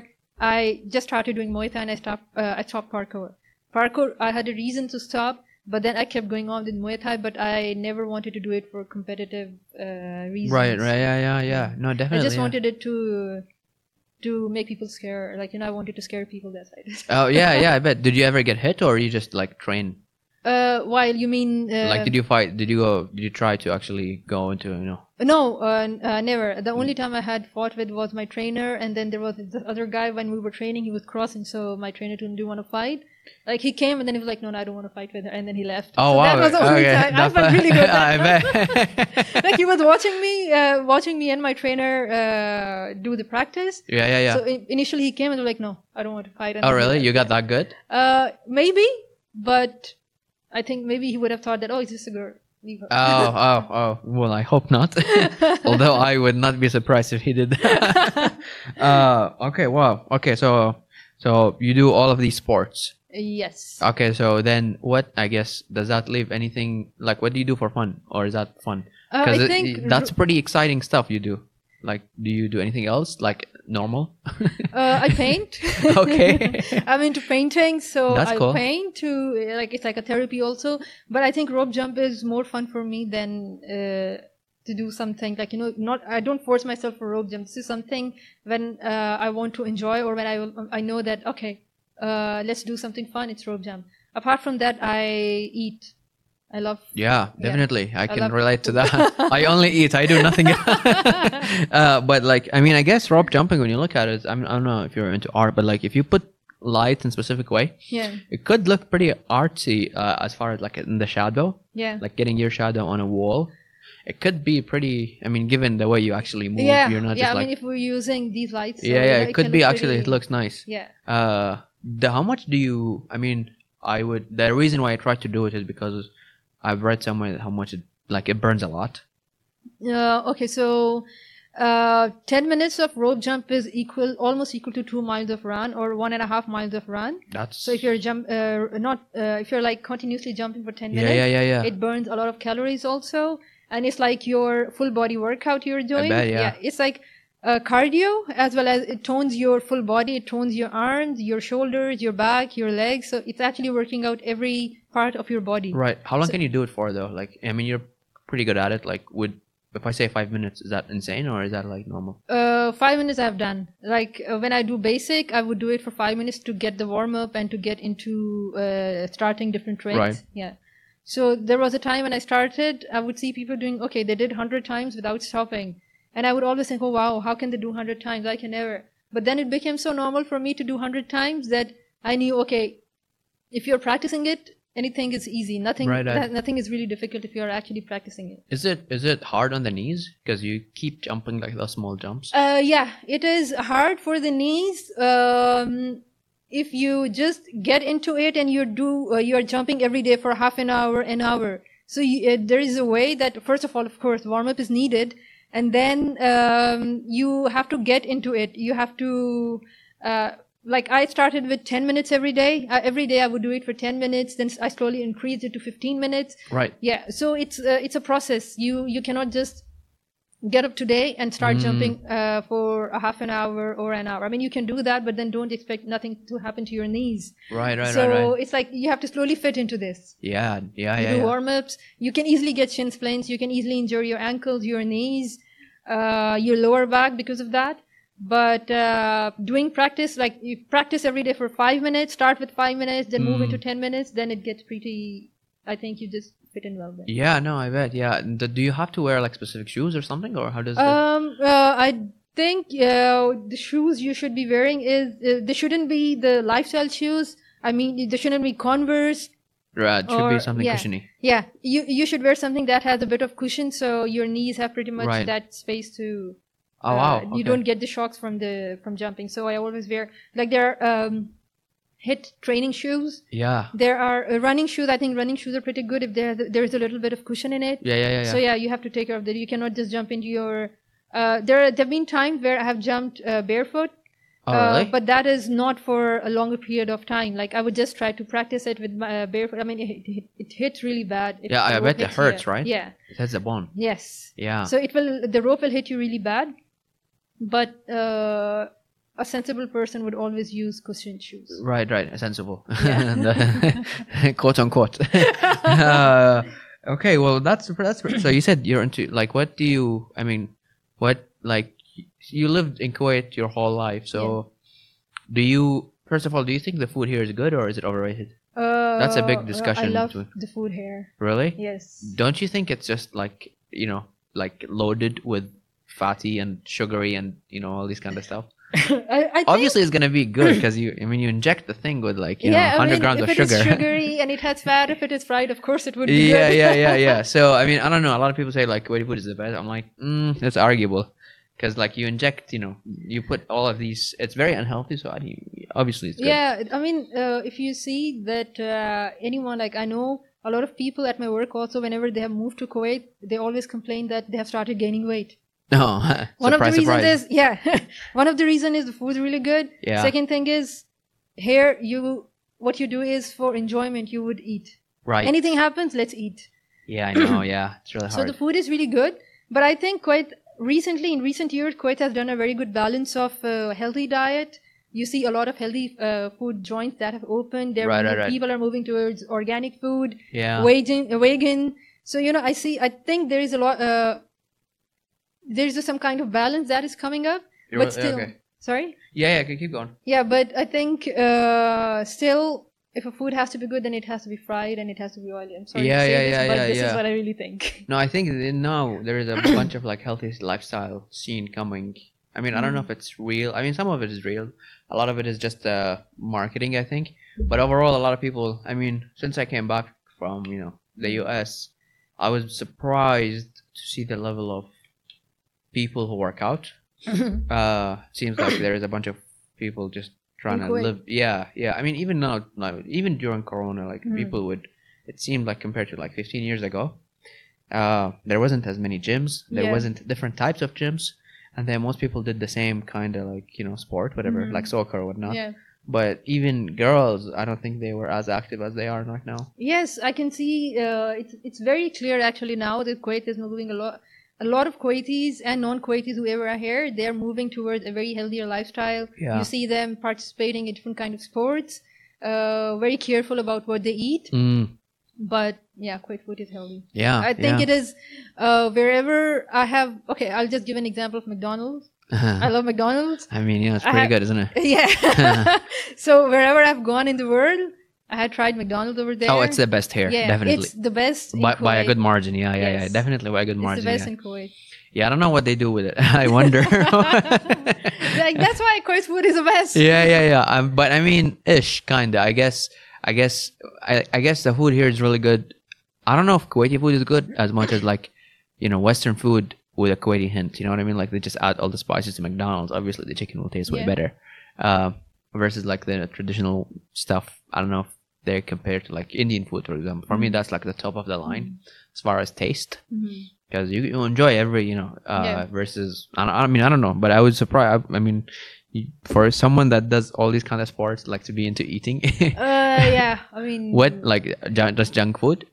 [SPEAKER 1] I just started doing Muay Thai and I stopped, uh, I stopped parkour. Parkour, I had a reason to stop But then I kept going on with Muay Thai, but I never wanted to do it for competitive uh, reasons.
[SPEAKER 2] Right, right, yeah, yeah, yeah. No,
[SPEAKER 1] I
[SPEAKER 2] definitely.
[SPEAKER 1] just
[SPEAKER 2] yeah.
[SPEAKER 1] wanted it to to make people scare. Like you know, I wanted to scare people. That's it.
[SPEAKER 2] Oh yeah, yeah. I bet. Did you ever get hit, or you just like train?
[SPEAKER 1] Uh, while you mean uh,
[SPEAKER 2] like, did you fight? Did you go? Did you try to actually go into you know?
[SPEAKER 1] No, uh, n- uh, never.
[SPEAKER 2] Hmm.
[SPEAKER 1] The only time I had fought with was my trainer, and then there was the other guy when we were training. He was crossing, so my trainer didn't do want to fight. Like he came, and then he was like, "No, no I don't want to fight with her," and then he left.
[SPEAKER 2] Oh
[SPEAKER 1] So
[SPEAKER 2] wow.
[SPEAKER 1] that was the only
[SPEAKER 2] okay,
[SPEAKER 1] time. I
[SPEAKER 2] that's
[SPEAKER 1] felt
[SPEAKER 2] fine.
[SPEAKER 1] really good.
[SPEAKER 2] I bet.
[SPEAKER 1] like he was watching me, uh, watching me and my trainer uh, do the practice.
[SPEAKER 2] yeah, yeah, yeah.
[SPEAKER 1] So in- initially he came and was like, "No, I don't want to fight." and
[SPEAKER 2] oh
[SPEAKER 1] then he
[SPEAKER 2] really?
[SPEAKER 1] left.
[SPEAKER 2] You got that good?
[SPEAKER 1] Uh, maybe, but I think maybe he would have thought that, "Oh, it's just a girl." Leave her.
[SPEAKER 2] Oh, oh, oh. Well, I hope not. Although I would not be surprised if he did. that. uh, okay. Wow. Okay. So, so you do all of these sports.
[SPEAKER 1] yes. Uh,
[SPEAKER 2] Okay. So then, what I guess does that leave anything? Like, what do you do for fun, or is that fun?
[SPEAKER 1] Uh,
[SPEAKER 2] Because
[SPEAKER 1] I think
[SPEAKER 2] that's pretty exciting stuff you do. Like, do you do anything else? Like normal?
[SPEAKER 1] Uh, I paint.
[SPEAKER 2] Okay.
[SPEAKER 1] I'm into painting, so
[SPEAKER 2] That's
[SPEAKER 1] I
[SPEAKER 2] cool.
[SPEAKER 1] paint to like it's like a therapy also. But I think rope jump is more fun for me than uh, to do something like you know not. I don't force myself for rope jumps. Do something when uh, I want to enjoy or when I will- I know that okay, uh, let's do something fun. It's rope jump. Apart from that, I eat. I love
[SPEAKER 2] yeah,
[SPEAKER 1] Yeah.
[SPEAKER 2] definitely. I can
[SPEAKER 1] love
[SPEAKER 2] relate to that. I only eat. I do nothing. uh, but like, I mean, I guess rope jumping. When you look at it, I'm, I don't know if you're into art, but like, if you put light in specific way,
[SPEAKER 1] yeah
[SPEAKER 2] it could look pretty artsy uh, as far as like in the shadow,
[SPEAKER 1] yeah.
[SPEAKER 2] like getting your shadow on a wall. It could be pretty. I mean, given the way you actually move,
[SPEAKER 1] yeah,
[SPEAKER 2] you're not
[SPEAKER 1] yeah.
[SPEAKER 2] just
[SPEAKER 1] I
[SPEAKER 2] like
[SPEAKER 1] mean, if we're using these lights, so,
[SPEAKER 2] yeah,
[SPEAKER 1] you
[SPEAKER 2] yeah.
[SPEAKER 1] know,
[SPEAKER 2] It could
[SPEAKER 1] can
[SPEAKER 2] be
[SPEAKER 1] look
[SPEAKER 2] actually. It
[SPEAKER 1] pretty-
[SPEAKER 2] looks nice.
[SPEAKER 1] yeah,
[SPEAKER 2] uh the how much do you i mean i would the reason why i try to do it is because i've read somewhere how much it like it burns a lot
[SPEAKER 1] Uh, okay, so uh, 10 minutes of rope jump is equal, almost equal to two miles of run or one and a half miles of run.
[SPEAKER 2] that's
[SPEAKER 1] So if you're jump, uh, not uh, if you're like continuously jumping for 10
[SPEAKER 2] yeah
[SPEAKER 1] minutes,
[SPEAKER 2] yeah yeah yeah
[SPEAKER 1] it burns a lot of calories also, and it's like your full body workout you're doing.
[SPEAKER 2] bet, yeah.
[SPEAKER 1] it's like uh, cardio as well as it tones your full body, it tones your arms, your shoulders, your back, your legs. So it's actually working out every part of your body.
[SPEAKER 2] right how long
[SPEAKER 1] so-
[SPEAKER 2] can you do it for though like i mean you're pretty good at it like would if i say five minutes is that insane or is that like normal
[SPEAKER 1] Uh, five minutes I've done. Like uh, when I do basic, I would do it for five minutes to get the warm up and to get into uh, starting different tricks.
[SPEAKER 2] Right.
[SPEAKER 1] Yeah. So there was a time when I started, I would see people doing okay. They did hundred times without stopping, and I would always think, oh wow, how can they do hundred times? I can never. But then it became so normal for me to do hundred times that I knew okay, if you're practicing it, anything is easy. Nothing,
[SPEAKER 2] Right, I-
[SPEAKER 1] no- nothing is really difficult if you're actually practicing it.
[SPEAKER 2] is it is it hard on the knees because you keep jumping like those small jumps
[SPEAKER 1] Uh, yeah, it is hard for the knees. Um, if you just get into it and you do, uh, you are jumping every day for half an hour, an hour. So you, uh, there is a way that, first of all, of course, warm up is needed, and then um, you have to get into it. You have to. Uh, like I started with 10 minutes every day. Uh, every day I would do it for 10 minutes. Then I slowly increased it to 15 minutes
[SPEAKER 2] right
[SPEAKER 1] yeah so it's uh, it's a process you you cannot just get up today and start
[SPEAKER 2] Mm.
[SPEAKER 1] jumping uh, for a half an hour or an hour i mean you can do that but then don't expect nothing to happen to your knees
[SPEAKER 2] right right
[SPEAKER 1] so
[SPEAKER 2] right right
[SPEAKER 1] it's like you have to slowly fit into this
[SPEAKER 2] yeah yeah
[SPEAKER 1] you
[SPEAKER 2] yeah,
[SPEAKER 1] do
[SPEAKER 2] yeah.
[SPEAKER 1] warm-ups you can easily get shin splints you can easily injure your ankles your knees uh, your lower back because of that but uh, doing practice like you practice every day for five minutes start with five minutes then move
[SPEAKER 2] Mm.
[SPEAKER 1] into ten minutes then it gets pretty i think you just fit in well then
[SPEAKER 2] yeah no i bet yeah And do you have to wear like specific shoes or something or how does it
[SPEAKER 1] Um, uh, I think uh, the shoes you should be wearing is uh, they shouldn't be the lifestyle shoes. I mean, they shouldn't be Converse.
[SPEAKER 2] right uh, should
[SPEAKER 1] or-
[SPEAKER 2] be something
[SPEAKER 1] yeah.
[SPEAKER 2] cushiony
[SPEAKER 1] Yeah, you you should wear something that has a bit of cushion, so your knees have pretty much
[SPEAKER 2] Right.
[SPEAKER 1] that space to.
[SPEAKER 2] Oh
[SPEAKER 1] uh,
[SPEAKER 2] wow!
[SPEAKER 1] You don't get the shocks from the from jumping. So I always wear like there are um, hit training shoes.
[SPEAKER 2] Yeah,
[SPEAKER 1] There are uh, running shoes. I think running shoes are pretty good if there there is a little bit of cushion in it.
[SPEAKER 2] yeah, yeah, yeah. yeah.
[SPEAKER 1] So yeah, you have to take care of that. You cannot just jump into your. Uh, there are- there have been times where I have jumped uh, barefoot,
[SPEAKER 2] oh
[SPEAKER 1] uh,
[SPEAKER 2] really?
[SPEAKER 1] but that is not for a longer period of time. Like I would just try to practice it with my uh, barefoot. I mean, it, it, it hits really bad. It,
[SPEAKER 2] Yeah, I
[SPEAKER 1] the
[SPEAKER 2] bet
[SPEAKER 1] rope
[SPEAKER 2] it
[SPEAKER 1] hits here.
[SPEAKER 2] hurts, right? Ah.
[SPEAKER 1] Yeah.
[SPEAKER 2] That's a bone.
[SPEAKER 1] Yes.
[SPEAKER 2] Yeah.
[SPEAKER 1] So it will the rope will hit you really bad, but uh, a sensible person would always use cushioned shoes.
[SPEAKER 2] Right, right, sensible,
[SPEAKER 1] Yeah.
[SPEAKER 2] And, uh, quote unquote. uh, okay, well, that's that's so. You said you're into like what do you? I mean, what like you lived in Kuwait your whole life, so do you? First of all, do you think the food here is good or is it overrated?
[SPEAKER 1] Uh,
[SPEAKER 2] That's a big
[SPEAKER 1] uh, I
[SPEAKER 2] discussion
[SPEAKER 1] love
[SPEAKER 2] to-
[SPEAKER 1] the food here.
[SPEAKER 2] Really?
[SPEAKER 1] Yes.
[SPEAKER 2] Don't you think it's just like you know, like loaded with fatty and sugary and you know all these kind of stuff?
[SPEAKER 1] I, I think
[SPEAKER 2] Obviously, it's gonna be good because you. I mean, you inject the thing with like you know,
[SPEAKER 1] yeah, I
[SPEAKER 2] hundred
[SPEAKER 1] mean,
[SPEAKER 2] grams
[SPEAKER 1] if
[SPEAKER 2] of
[SPEAKER 1] it is
[SPEAKER 2] sugar.
[SPEAKER 1] sugary and it has fat, if it is fried, of course it would be.
[SPEAKER 2] yeah,
[SPEAKER 1] good.
[SPEAKER 2] yeah, yeah, yeah. So I mean, I don't know. A lot of people say like Kuwaiti food is the best. I'm like, mm, that's arguable, because like you inject, you know, you put all of these. It's very unhealthy. So I mean, obviously it's good.
[SPEAKER 1] Yeah, I mean, uh, if you see that uh, anyone, like I know a lot of people at my work also, whenever they have moved to Kuwait, they always complain that they have started gaining weight.
[SPEAKER 2] No,
[SPEAKER 1] One
[SPEAKER 2] surprise,
[SPEAKER 1] of the reasons
[SPEAKER 2] surprise.
[SPEAKER 1] is, yeah, one of the reason is the food really good.
[SPEAKER 2] yeah,
[SPEAKER 1] Second thing is, here you, what you do is for enjoyment, you would eat.
[SPEAKER 2] right.
[SPEAKER 1] Anything happens, let's eat.
[SPEAKER 2] yeah, I know. Yeah, it's really
[SPEAKER 1] So
[SPEAKER 2] hard.
[SPEAKER 1] the food is really good, but I think quite recently, in recent years, Kuwait has done a very good balance of uh, healthy diet. You see a lot of healthy uh, food joints that have opened. There
[SPEAKER 2] Right, right, right.
[SPEAKER 1] people are moving towards organic food,
[SPEAKER 2] yeah,
[SPEAKER 1] vegan, uh, vegan. So you know, I see. I think there is a lot. Uh, there is some kind of balance that is coming up,
[SPEAKER 2] You're
[SPEAKER 1] but
[SPEAKER 2] right,
[SPEAKER 1] still,
[SPEAKER 2] okay.
[SPEAKER 1] sorry,
[SPEAKER 2] yeah, yeah. okay, Keep going.
[SPEAKER 1] yeah. But I think uh, still, if a food has to be good, then it has to be fried and it has to be oily. I'm sorry
[SPEAKER 2] Yeah,
[SPEAKER 1] to say
[SPEAKER 2] yeah,
[SPEAKER 1] this,
[SPEAKER 2] yeah,
[SPEAKER 1] but
[SPEAKER 2] yeah,
[SPEAKER 1] this is
[SPEAKER 2] yeah.
[SPEAKER 1] what I really think.
[SPEAKER 2] No, I think that now there is a bunch of like healthy lifestyle scene coming. I mean, I don't know if it's real. I mean, some of it is real. A lot of it is just uh, marketing, I think. But overall, a lot of people. I mean, since I came back from you know the U.S., I was surprised to see the level of people who work out. Uh, seems like there is a bunch of people just trying to
[SPEAKER 1] Kuwait.
[SPEAKER 2] live. Yeah, yeah. I mean, even now, now even during Corona, like
[SPEAKER 1] Mhm.
[SPEAKER 2] people would. It seemed like compared to like 15 years ago, uh, there wasn't as many gyms. There
[SPEAKER 1] Yeah.
[SPEAKER 2] wasn't different types of gyms, and then most people did the same kind of like you know sport, whatever,
[SPEAKER 1] Mhm.
[SPEAKER 2] like soccer or whatnot.
[SPEAKER 1] Yeah.
[SPEAKER 2] But even girls, I don't think they were as active as they are right now.
[SPEAKER 1] Yes, I can see. Uh, it's it's very clear actually now that Kuwait is moving a lot. A lot of Kuwaitis and non-Kuwaitis, whoever are here, they are moving towards a very healthier lifestyle.
[SPEAKER 2] Yeah.
[SPEAKER 1] You see them participating in different kind of sports. Uh, very careful about what they eat,
[SPEAKER 2] Mm,
[SPEAKER 1] but yeah, Kuwait food is healthy.
[SPEAKER 2] yeah,
[SPEAKER 1] I think
[SPEAKER 2] Ah, yeah.
[SPEAKER 1] it is uh, wherever I have. Okay, I'll just give an example of McDonald's.
[SPEAKER 2] Uh-huh.
[SPEAKER 1] I love McDonald's.
[SPEAKER 2] I mean, yeah, it's
[SPEAKER 1] I
[SPEAKER 2] pretty
[SPEAKER 1] have-
[SPEAKER 2] good, isn't it?
[SPEAKER 1] Yeah. so wherever I've gone in the world, I had tried McDonald's over there.
[SPEAKER 2] Oh, it's the best here,
[SPEAKER 1] yeah,
[SPEAKER 2] definitely.
[SPEAKER 1] it's the best. in
[SPEAKER 2] by, by a
[SPEAKER 1] Kuwait.
[SPEAKER 2] good margin, yeah, yeah, yeah,
[SPEAKER 1] Yes.
[SPEAKER 2] definitely by a good margin.
[SPEAKER 1] It's the best
[SPEAKER 2] yeah.
[SPEAKER 1] in Kuwait.
[SPEAKER 2] yeah, I don't know what they do with it. I wonder.
[SPEAKER 1] like that's why Kuwait food is the best.
[SPEAKER 2] yeah yeah yeah um, but i mean ish kinda i guess i guess I, I guess the food here is really good i don't know if kuwaiti food is good as much as like you know western food with a kuwaiti hint you know what i mean like they just add all the spices to mcdonald's obviously the chicken will taste way
[SPEAKER 1] Yeah.
[SPEAKER 2] better uh, versus like the traditional stuff i don't know if they're compared to like indian food for example for
[SPEAKER 1] Mm.
[SPEAKER 2] me that's like the top of the line as far as taste
[SPEAKER 1] Mhm.
[SPEAKER 2] because you, you enjoy every you know uh,
[SPEAKER 1] Yeah.
[SPEAKER 2] versus I, don't- I mean i don't know but i was surprised i, I mean you- for someone that does all these kind of sports like to be into eating
[SPEAKER 1] Uh, yeah, I mean,
[SPEAKER 2] what like ju- just junk food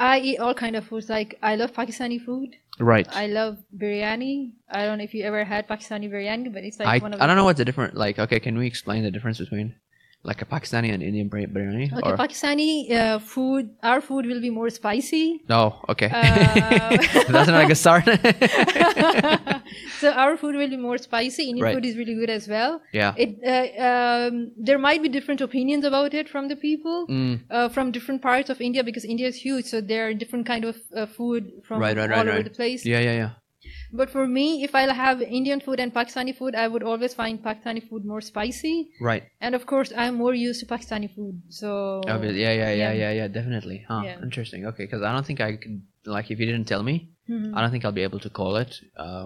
[SPEAKER 1] I eat all kind of foods. Like I love Pakistani food.
[SPEAKER 2] right i
[SPEAKER 1] I love biryani. I don't know if you ever had Pakistani biryani, but it's like
[SPEAKER 2] I,
[SPEAKER 1] one of
[SPEAKER 2] don't know what's the different like okay can we explain the difference between like a pakistani and indian bri- biryani
[SPEAKER 1] Okay,
[SPEAKER 2] or
[SPEAKER 1] Pakistani uh, food. Our food will be more spicy.
[SPEAKER 2] no okay
[SPEAKER 1] Uh,
[SPEAKER 2] that's not a good start
[SPEAKER 1] so our food will be more spicy. Indian
[SPEAKER 2] Right.
[SPEAKER 1] food is really good as well.
[SPEAKER 2] yeah
[SPEAKER 1] It uh, um, there might be different opinions about it from the people.
[SPEAKER 2] Mm,
[SPEAKER 1] uh, from different parts of India because India is huge, so there are different kind of uh, food from
[SPEAKER 2] Right, right,
[SPEAKER 1] all
[SPEAKER 2] right,
[SPEAKER 1] over
[SPEAKER 2] right.
[SPEAKER 1] the place.
[SPEAKER 2] yeah yeah yeah
[SPEAKER 1] But for me, if I'll have Indian food and Pakistani food, I would always find Pakistani food more spicy.
[SPEAKER 2] right
[SPEAKER 1] And of course, I'm more used to Pakistani food, so
[SPEAKER 2] Obvi- yeah, yeah yeah
[SPEAKER 1] Oh. yeah.
[SPEAKER 2] yeah yeah definitely huh
[SPEAKER 1] Yeah.
[SPEAKER 2] interesting okay because i don't think i could like if you didn't tell me
[SPEAKER 1] Mhm.
[SPEAKER 2] I don't think I'll be able to call it. Uh,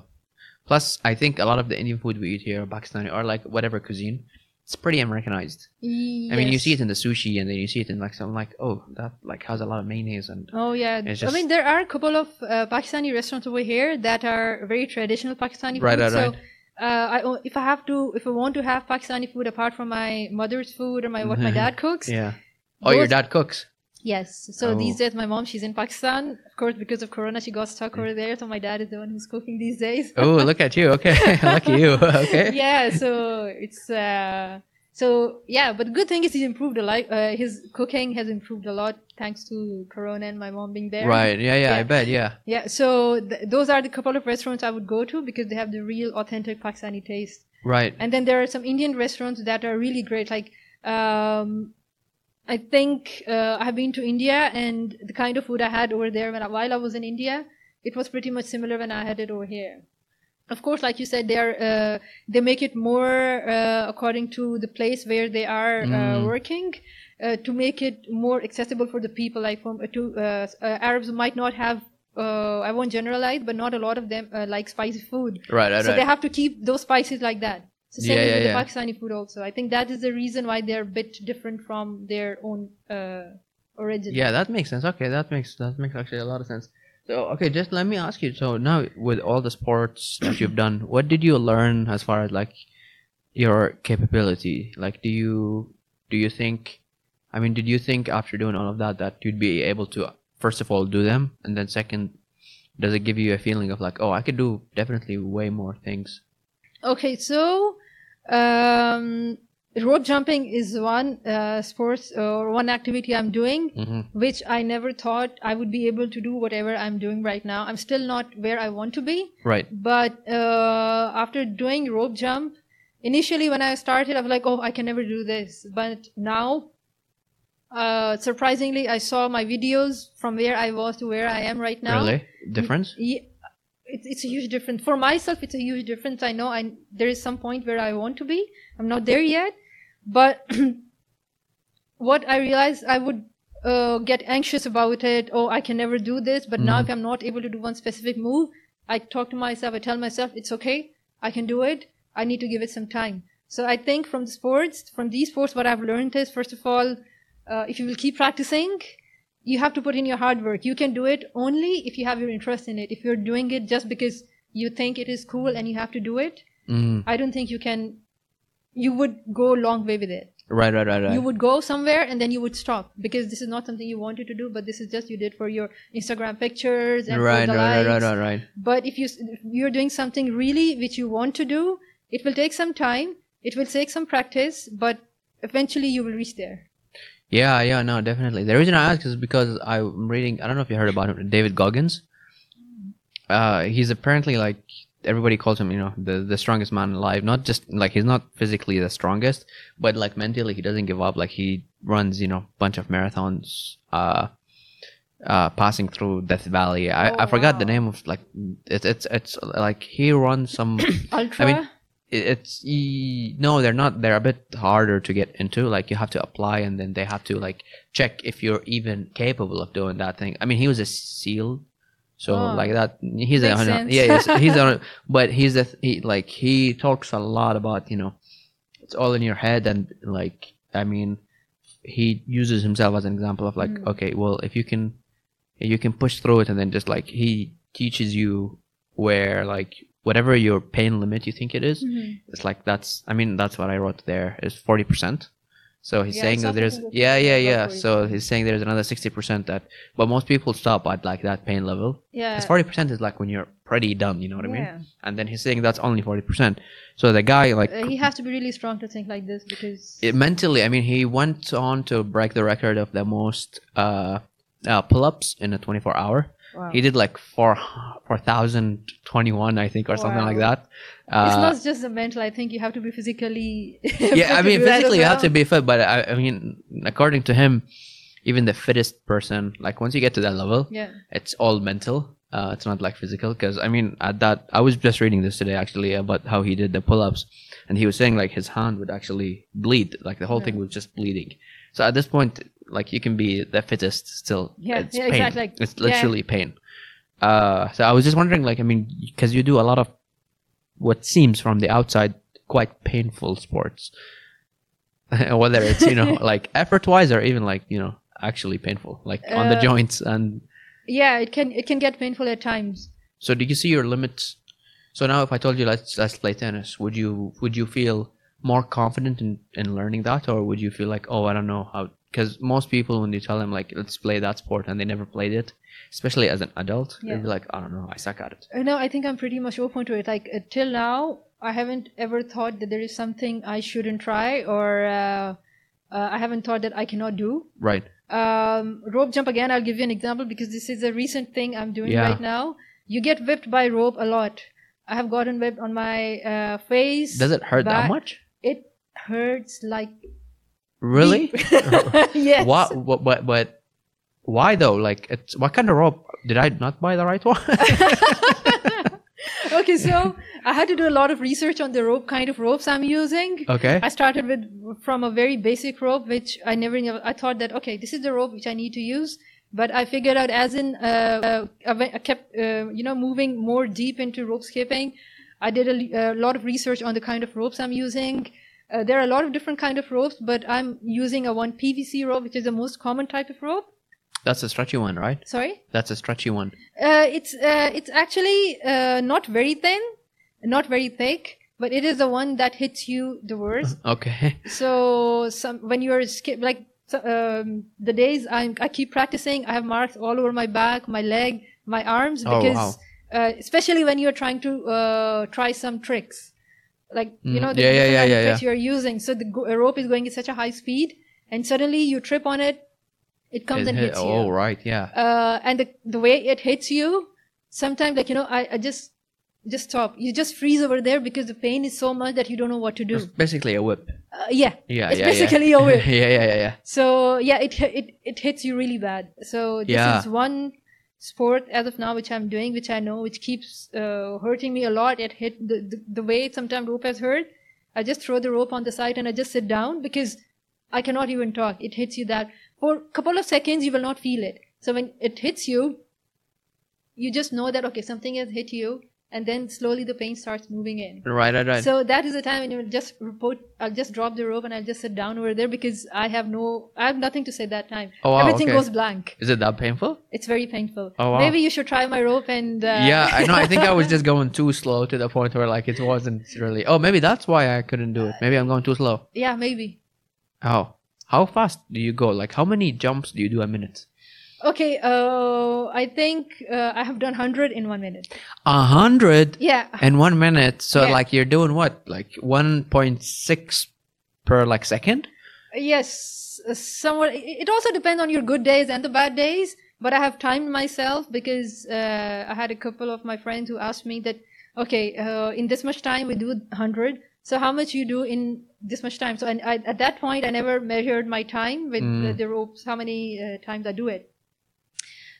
[SPEAKER 2] plus, I think a lot of the Indian food we eat here, Pakistani or like whatever cuisine, it's pretty Americanized. I mean, you
[SPEAKER 1] Yes.
[SPEAKER 2] see it in the sushi, and then you see it in like some like oh that like has a lot of mayonnaise and
[SPEAKER 1] Oh yeah,
[SPEAKER 2] It's
[SPEAKER 1] I mean
[SPEAKER 2] just-
[SPEAKER 1] there are a couple of uh, Pakistani restaurants over here that are very traditional Pakistani
[SPEAKER 2] Right,
[SPEAKER 1] food.
[SPEAKER 2] right,
[SPEAKER 1] so
[SPEAKER 2] right.
[SPEAKER 1] uh, I, o- if I have to, if I want to have Pakistani food apart from my mother's food or my what my dad cooks,
[SPEAKER 2] Mm-hmm. yeah. Oh, your
[SPEAKER 1] those-
[SPEAKER 2] dad cooks.
[SPEAKER 1] Yes. So
[SPEAKER 2] Oh.
[SPEAKER 1] these days, my mom, she's in Pakistan. Of course, because of Corona, she got stuck over there. So my dad is the one who's cooking these days.
[SPEAKER 2] Oh, look at you. Okay. Lucky you. Okay.
[SPEAKER 1] yeah. So it's, uh, so yeah, but the good thing is he's improved a lot. Uh, his cooking has improved a lot thanks to Corona and my mom being there.
[SPEAKER 2] Right. Yeah, yeah. I
[SPEAKER 1] Yeah.
[SPEAKER 2] bet. Yeah.
[SPEAKER 1] Yeah. So th- those are the couple of restaurants I would go to because they have the real authentic Pakistani taste.
[SPEAKER 2] Right.
[SPEAKER 1] And then there are some Indian restaurants that are really great. Like, um, I think uh, I've been to India, and the kind of food I had over there when I, while I was in India, it was pretty much similar when I had it over here. Of course, like you said, they are uh, they make it more uh, according to the place where they are
[SPEAKER 2] Mm.
[SPEAKER 1] uh, working. Uh, to make it more accessible for the people, like from uh, to uh, s- uh, Arabs might not have, uh, I won't generalize, but not a lot of them uh, like spicy food
[SPEAKER 2] Right. Right.
[SPEAKER 1] so they
[SPEAKER 2] right.
[SPEAKER 1] have to keep those spices like that. So same
[SPEAKER 2] Yeah,
[SPEAKER 1] is
[SPEAKER 2] yeah,
[SPEAKER 1] with
[SPEAKER 2] yeah.
[SPEAKER 1] the Pakistani food also. I think that is the reason why they're a bit different from their own uh, origin.
[SPEAKER 2] Yeah, that makes sense. Okay, that makes that makes actually a lot of sense. So, okay, just let me ask you. So now, with all the sports that you've done, what did you learn as far as like your capability? Like, do you do you think? I mean, did you think after doing all of that that you'd be able to first of all do them, and then second, does it give you a feeling of like, oh, I could do definitely way more things?
[SPEAKER 1] Okay, so um, rope jumping is one uh, sports or one activity I'm doing
[SPEAKER 2] Mm-hmm.
[SPEAKER 1] which I never thought I would be able to do whatever I'm doing right now. I'm still not where I want to be.
[SPEAKER 2] Right.
[SPEAKER 1] But uh, after doing rope jump, initially when I started, I was like, oh, I can never do this. But now, uh, surprisingly, I saw my videos from where I was to where I am right now.
[SPEAKER 2] Really? Difference?
[SPEAKER 1] Ye- It's, it's a huge difference. For myself, it's a huge difference. I know I, there is some point where I want to be. I'm not there yet. But what I realized, I would uh, get anxious about it. Oh, I can never do this. But now,
[SPEAKER 2] Mhm.
[SPEAKER 1] if I'm not able to do one specific move, I talk to myself. I tell myself, it's okay. I can do it. I need to give it some time. So I think from the sports, from these sports, what I've learned is, first of all, uh, if you will keep practicing, you have to put in your hard work. You can do it only if you have your interest in it. If you're doing it just because you think it is cool and you have to do it,
[SPEAKER 2] Mm.
[SPEAKER 1] I don't think you can. You would go a long way with it
[SPEAKER 2] Right. Right. Right. Right.
[SPEAKER 1] you would go somewhere and then you would stop because this is not something you wanted to do but this is just you did for your instagram pictures and for
[SPEAKER 2] right. Right.
[SPEAKER 1] the
[SPEAKER 2] Right. Right.
[SPEAKER 1] likes.
[SPEAKER 2] Right. Right.
[SPEAKER 1] but if you if you're doing something really which you want to do it will take some time it will take some practice but eventually you will reach there
[SPEAKER 2] Yeah, yeah, no, definitely. The reason I ask is because I'm reading. I don't know if you heard about him, David Goggins. Uh, he's apparently like everybody calls him, you know, the the strongest man alive. Not just like he's not physically the strongest, but like mentally, he doesn't give up. Like he runs, you know, bunch of marathons. Uh, uh, passing through Death Valley. I,
[SPEAKER 1] Oh,
[SPEAKER 2] I forgot the
[SPEAKER 1] wow.
[SPEAKER 2] name of like it's it's it's like he runs some
[SPEAKER 1] ultra
[SPEAKER 2] mean, it- it's e- no they're not they're a bit harder to get into like you have to apply and then they have to like check if you're even capable of doing that thing i mean he was a seal so
[SPEAKER 1] Oh.
[SPEAKER 2] like that he's
[SPEAKER 1] Makes
[SPEAKER 2] a
[SPEAKER 1] sense.
[SPEAKER 2] yeah yes, he's on but he's a he, like he talks a lot about you know it's all in your head and like i mean he uses himself as an example of like
[SPEAKER 1] Mm.
[SPEAKER 2] okay well if you can you can push through it and then just like he teaches you where like whatever your pain limit you think it is
[SPEAKER 1] Mhm.
[SPEAKER 2] it's like that's i mean that's what i wrote there is 40% so he's
[SPEAKER 1] Yeah,
[SPEAKER 2] saying that
[SPEAKER 1] some
[SPEAKER 2] there's
[SPEAKER 1] people will
[SPEAKER 2] yeah
[SPEAKER 1] think
[SPEAKER 2] yeah
[SPEAKER 1] about
[SPEAKER 2] yeah
[SPEAKER 1] 40%.
[SPEAKER 2] so he's saying there's another 60% that but most people stop at like that pain level
[SPEAKER 1] yeah
[SPEAKER 2] It's 40% is like when you're pretty done you know what i mean
[SPEAKER 1] Yeah.
[SPEAKER 2] and then he's saying that's only 40% so the guy like
[SPEAKER 1] Uh, he has to be really strong to think like this because
[SPEAKER 2] it, mentally i mean he went on to break the record of the most uh, uh pull-ups in a 24 hour
[SPEAKER 1] wow.
[SPEAKER 2] he did like four four thousand twenty one, I think, or something like
[SPEAKER 1] Wow.
[SPEAKER 2] that. Uh,
[SPEAKER 1] it's not just the mental i think you have to be physically
[SPEAKER 2] yeah, I mean, physically you have to
[SPEAKER 1] be
[SPEAKER 2] be fit, but I, I mean, according to him, even the fittest person, like once you get to that level,
[SPEAKER 1] yeah
[SPEAKER 2] it's all mental. Uh, it's not like physical, because I mean, at that, I was just reading this today actually about how he did the pull-ups, and he was saying like his hand would actually bleed, like the whole
[SPEAKER 1] Yeah.
[SPEAKER 2] thing was just bleeding. So at this point, like you can be the fittest still.
[SPEAKER 1] Yeah,
[SPEAKER 2] it's
[SPEAKER 1] yeah,
[SPEAKER 2] pain.
[SPEAKER 1] exactly, like,
[SPEAKER 2] it's
[SPEAKER 1] yeah.
[SPEAKER 2] literally pain. Uh, so I was just wondering, like, I mean, because you do a lot of what seems from the outside quite painful sports, whether it's you know like effort-wise or even like you know actually painful, like on the
[SPEAKER 1] Uh,
[SPEAKER 2] joints and
[SPEAKER 1] yeah it can it can get painful at times
[SPEAKER 2] so did you see your limits? So now, if I told you let's let's play tennis, would you would you feel more confident in, in learning that, or would you feel like oh I don't know how because most people when you tell them like let's play that sport and they never played it, especially as an adult,
[SPEAKER 1] Yeah.
[SPEAKER 2] they'll be like, I don't know, I suck at it.
[SPEAKER 1] Uh, No, I think I'm pretty much open to it. Like uh, till now, I haven't ever thought that there is something I shouldn't try, or uh, uh, I haven't thought that I cannot do.
[SPEAKER 2] Right.
[SPEAKER 1] Um, rope jump again. I'll give you an example because this is a recent thing I'm doing
[SPEAKER 2] Yeah.
[SPEAKER 1] right now. You get whipped by rope a lot. I have gotten whipped on my uh, face.
[SPEAKER 2] Does it hurt that
[SPEAKER 1] But-
[SPEAKER 2] much?
[SPEAKER 1] It hurts like
[SPEAKER 2] Really?
[SPEAKER 1] yes.
[SPEAKER 2] What? What? But, but why though? Like, it's, what kind of rope? Did I not buy the right one?
[SPEAKER 1] Okay, so I had to do a lot of research on the rope kind of ropes I'm using.
[SPEAKER 2] okay.
[SPEAKER 1] I started with from a very basic rope, which I never knew. I thought that okay, this is the rope which I need to use, but I figured out as in uh, uh, I went- I kept uh, you know moving more deep into rope skipping. I did a, l- a lot of research on the kind of ropes I'm using. Uh, there are a lot of different kind of ropes, but I'm using a one PVC rope, which is the most common type of rope.
[SPEAKER 2] That's a stretchy one, right?
[SPEAKER 1] Sorry,
[SPEAKER 2] That's a stretchy one.
[SPEAKER 1] uh, it's uh, it's actually uh, not very thin, not very thick, but it is the one that hits you the worst.
[SPEAKER 2] Okay.
[SPEAKER 1] So some when you're skip like so, um, the days I I keep practicing, I have marks all over my back, my leg, my arms
[SPEAKER 2] Oh,
[SPEAKER 1] because
[SPEAKER 2] wow.
[SPEAKER 1] uh, especially when you're trying to uh, try some tricks, like you
[SPEAKER 2] Mm,
[SPEAKER 1] know the
[SPEAKER 2] yeah, yeah,
[SPEAKER 1] different
[SPEAKER 2] yeah,
[SPEAKER 1] kind of
[SPEAKER 2] yeah,
[SPEAKER 1] tricks you're using. So the go- rope is going at such a high speed, and suddenly you trip on it, it comes
[SPEAKER 2] It
[SPEAKER 1] and
[SPEAKER 2] hit-
[SPEAKER 1] hits you
[SPEAKER 2] oh, right. Yeah.
[SPEAKER 1] uh, and the, the way it hits you sometimes like you know I, I just just stop you just freeze over there because the pain is so much that you don't know what to do
[SPEAKER 2] It's basically a whip.
[SPEAKER 1] uh, yeah
[SPEAKER 2] Yeah.
[SPEAKER 1] It's
[SPEAKER 2] yeah, yeah.
[SPEAKER 1] basically a whip.
[SPEAKER 2] yeah. Yeah. Yeah. Yeah.
[SPEAKER 1] so yeah it hi- it, it hits you really bad so this
[SPEAKER 2] Yeah.
[SPEAKER 1] is one sport as of now which i'm doing which i know which keeps uh, hurting me a lot it hit the, the, the way sometimes rope has hurt i just throw the rope on the side and i just sit down because i cannot even talk it hits you that for a couple of seconds you will not feel it so when it hits you you just know that okay something has hit you and then slowly the pain starts moving in
[SPEAKER 2] Right. Right. Right.
[SPEAKER 1] so that is the time when you just report. I'll just drop the rope and I'll just sit down over there because I have no, I have nothing to say that time.
[SPEAKER 2] Oh, wow,
[SPEAKER 1] Everything
[SPEAKER 2] okay.
[SPEAKER 1] goes blank.
[SPEAKER 2] Is it that painful?
[SPEAKER 1] It's very painful.
[SPEAKER 2] Oh, wow.
[SPEAKER 1] Maybe you should try my rope and. Uh,
[SPEAKER 2] yeah, I know. I think I was just going too slow to the point where like it wasn't really. Oh, maybe that's why I couldn't do it. Maybe I'm going too slow.
[SPEAKER 1] yeah, maybe.
[SPEAKER 2] Oh, how fast do you go? Like how many jumps do you do a minute?
[SPEAKER 1] Okay. Uh, I think uh, I have done hundred in one minute.
[SPEAKER 2] A hundred
[SPEAKER 1] Yeah.
[SPEAKER 2] in one minute. So
[SPEAKER 1] Yeah.
[SPEAKER 2] like you're doing what? Like one point six per like second.
[SPEAKER 1] Yes. uh, Somewhat. It it also depends on your good days and the bad days. But I have timed myself because uh, I had a couple of my friends who asked me that, okay, uh, in this much time we do hundred. So how much you do in this much time? So and I, at that point I never measured my time with
[SPEAKER 2] Mm.
[SPEAKER 1] the, the ropes. How many uh, times I do it?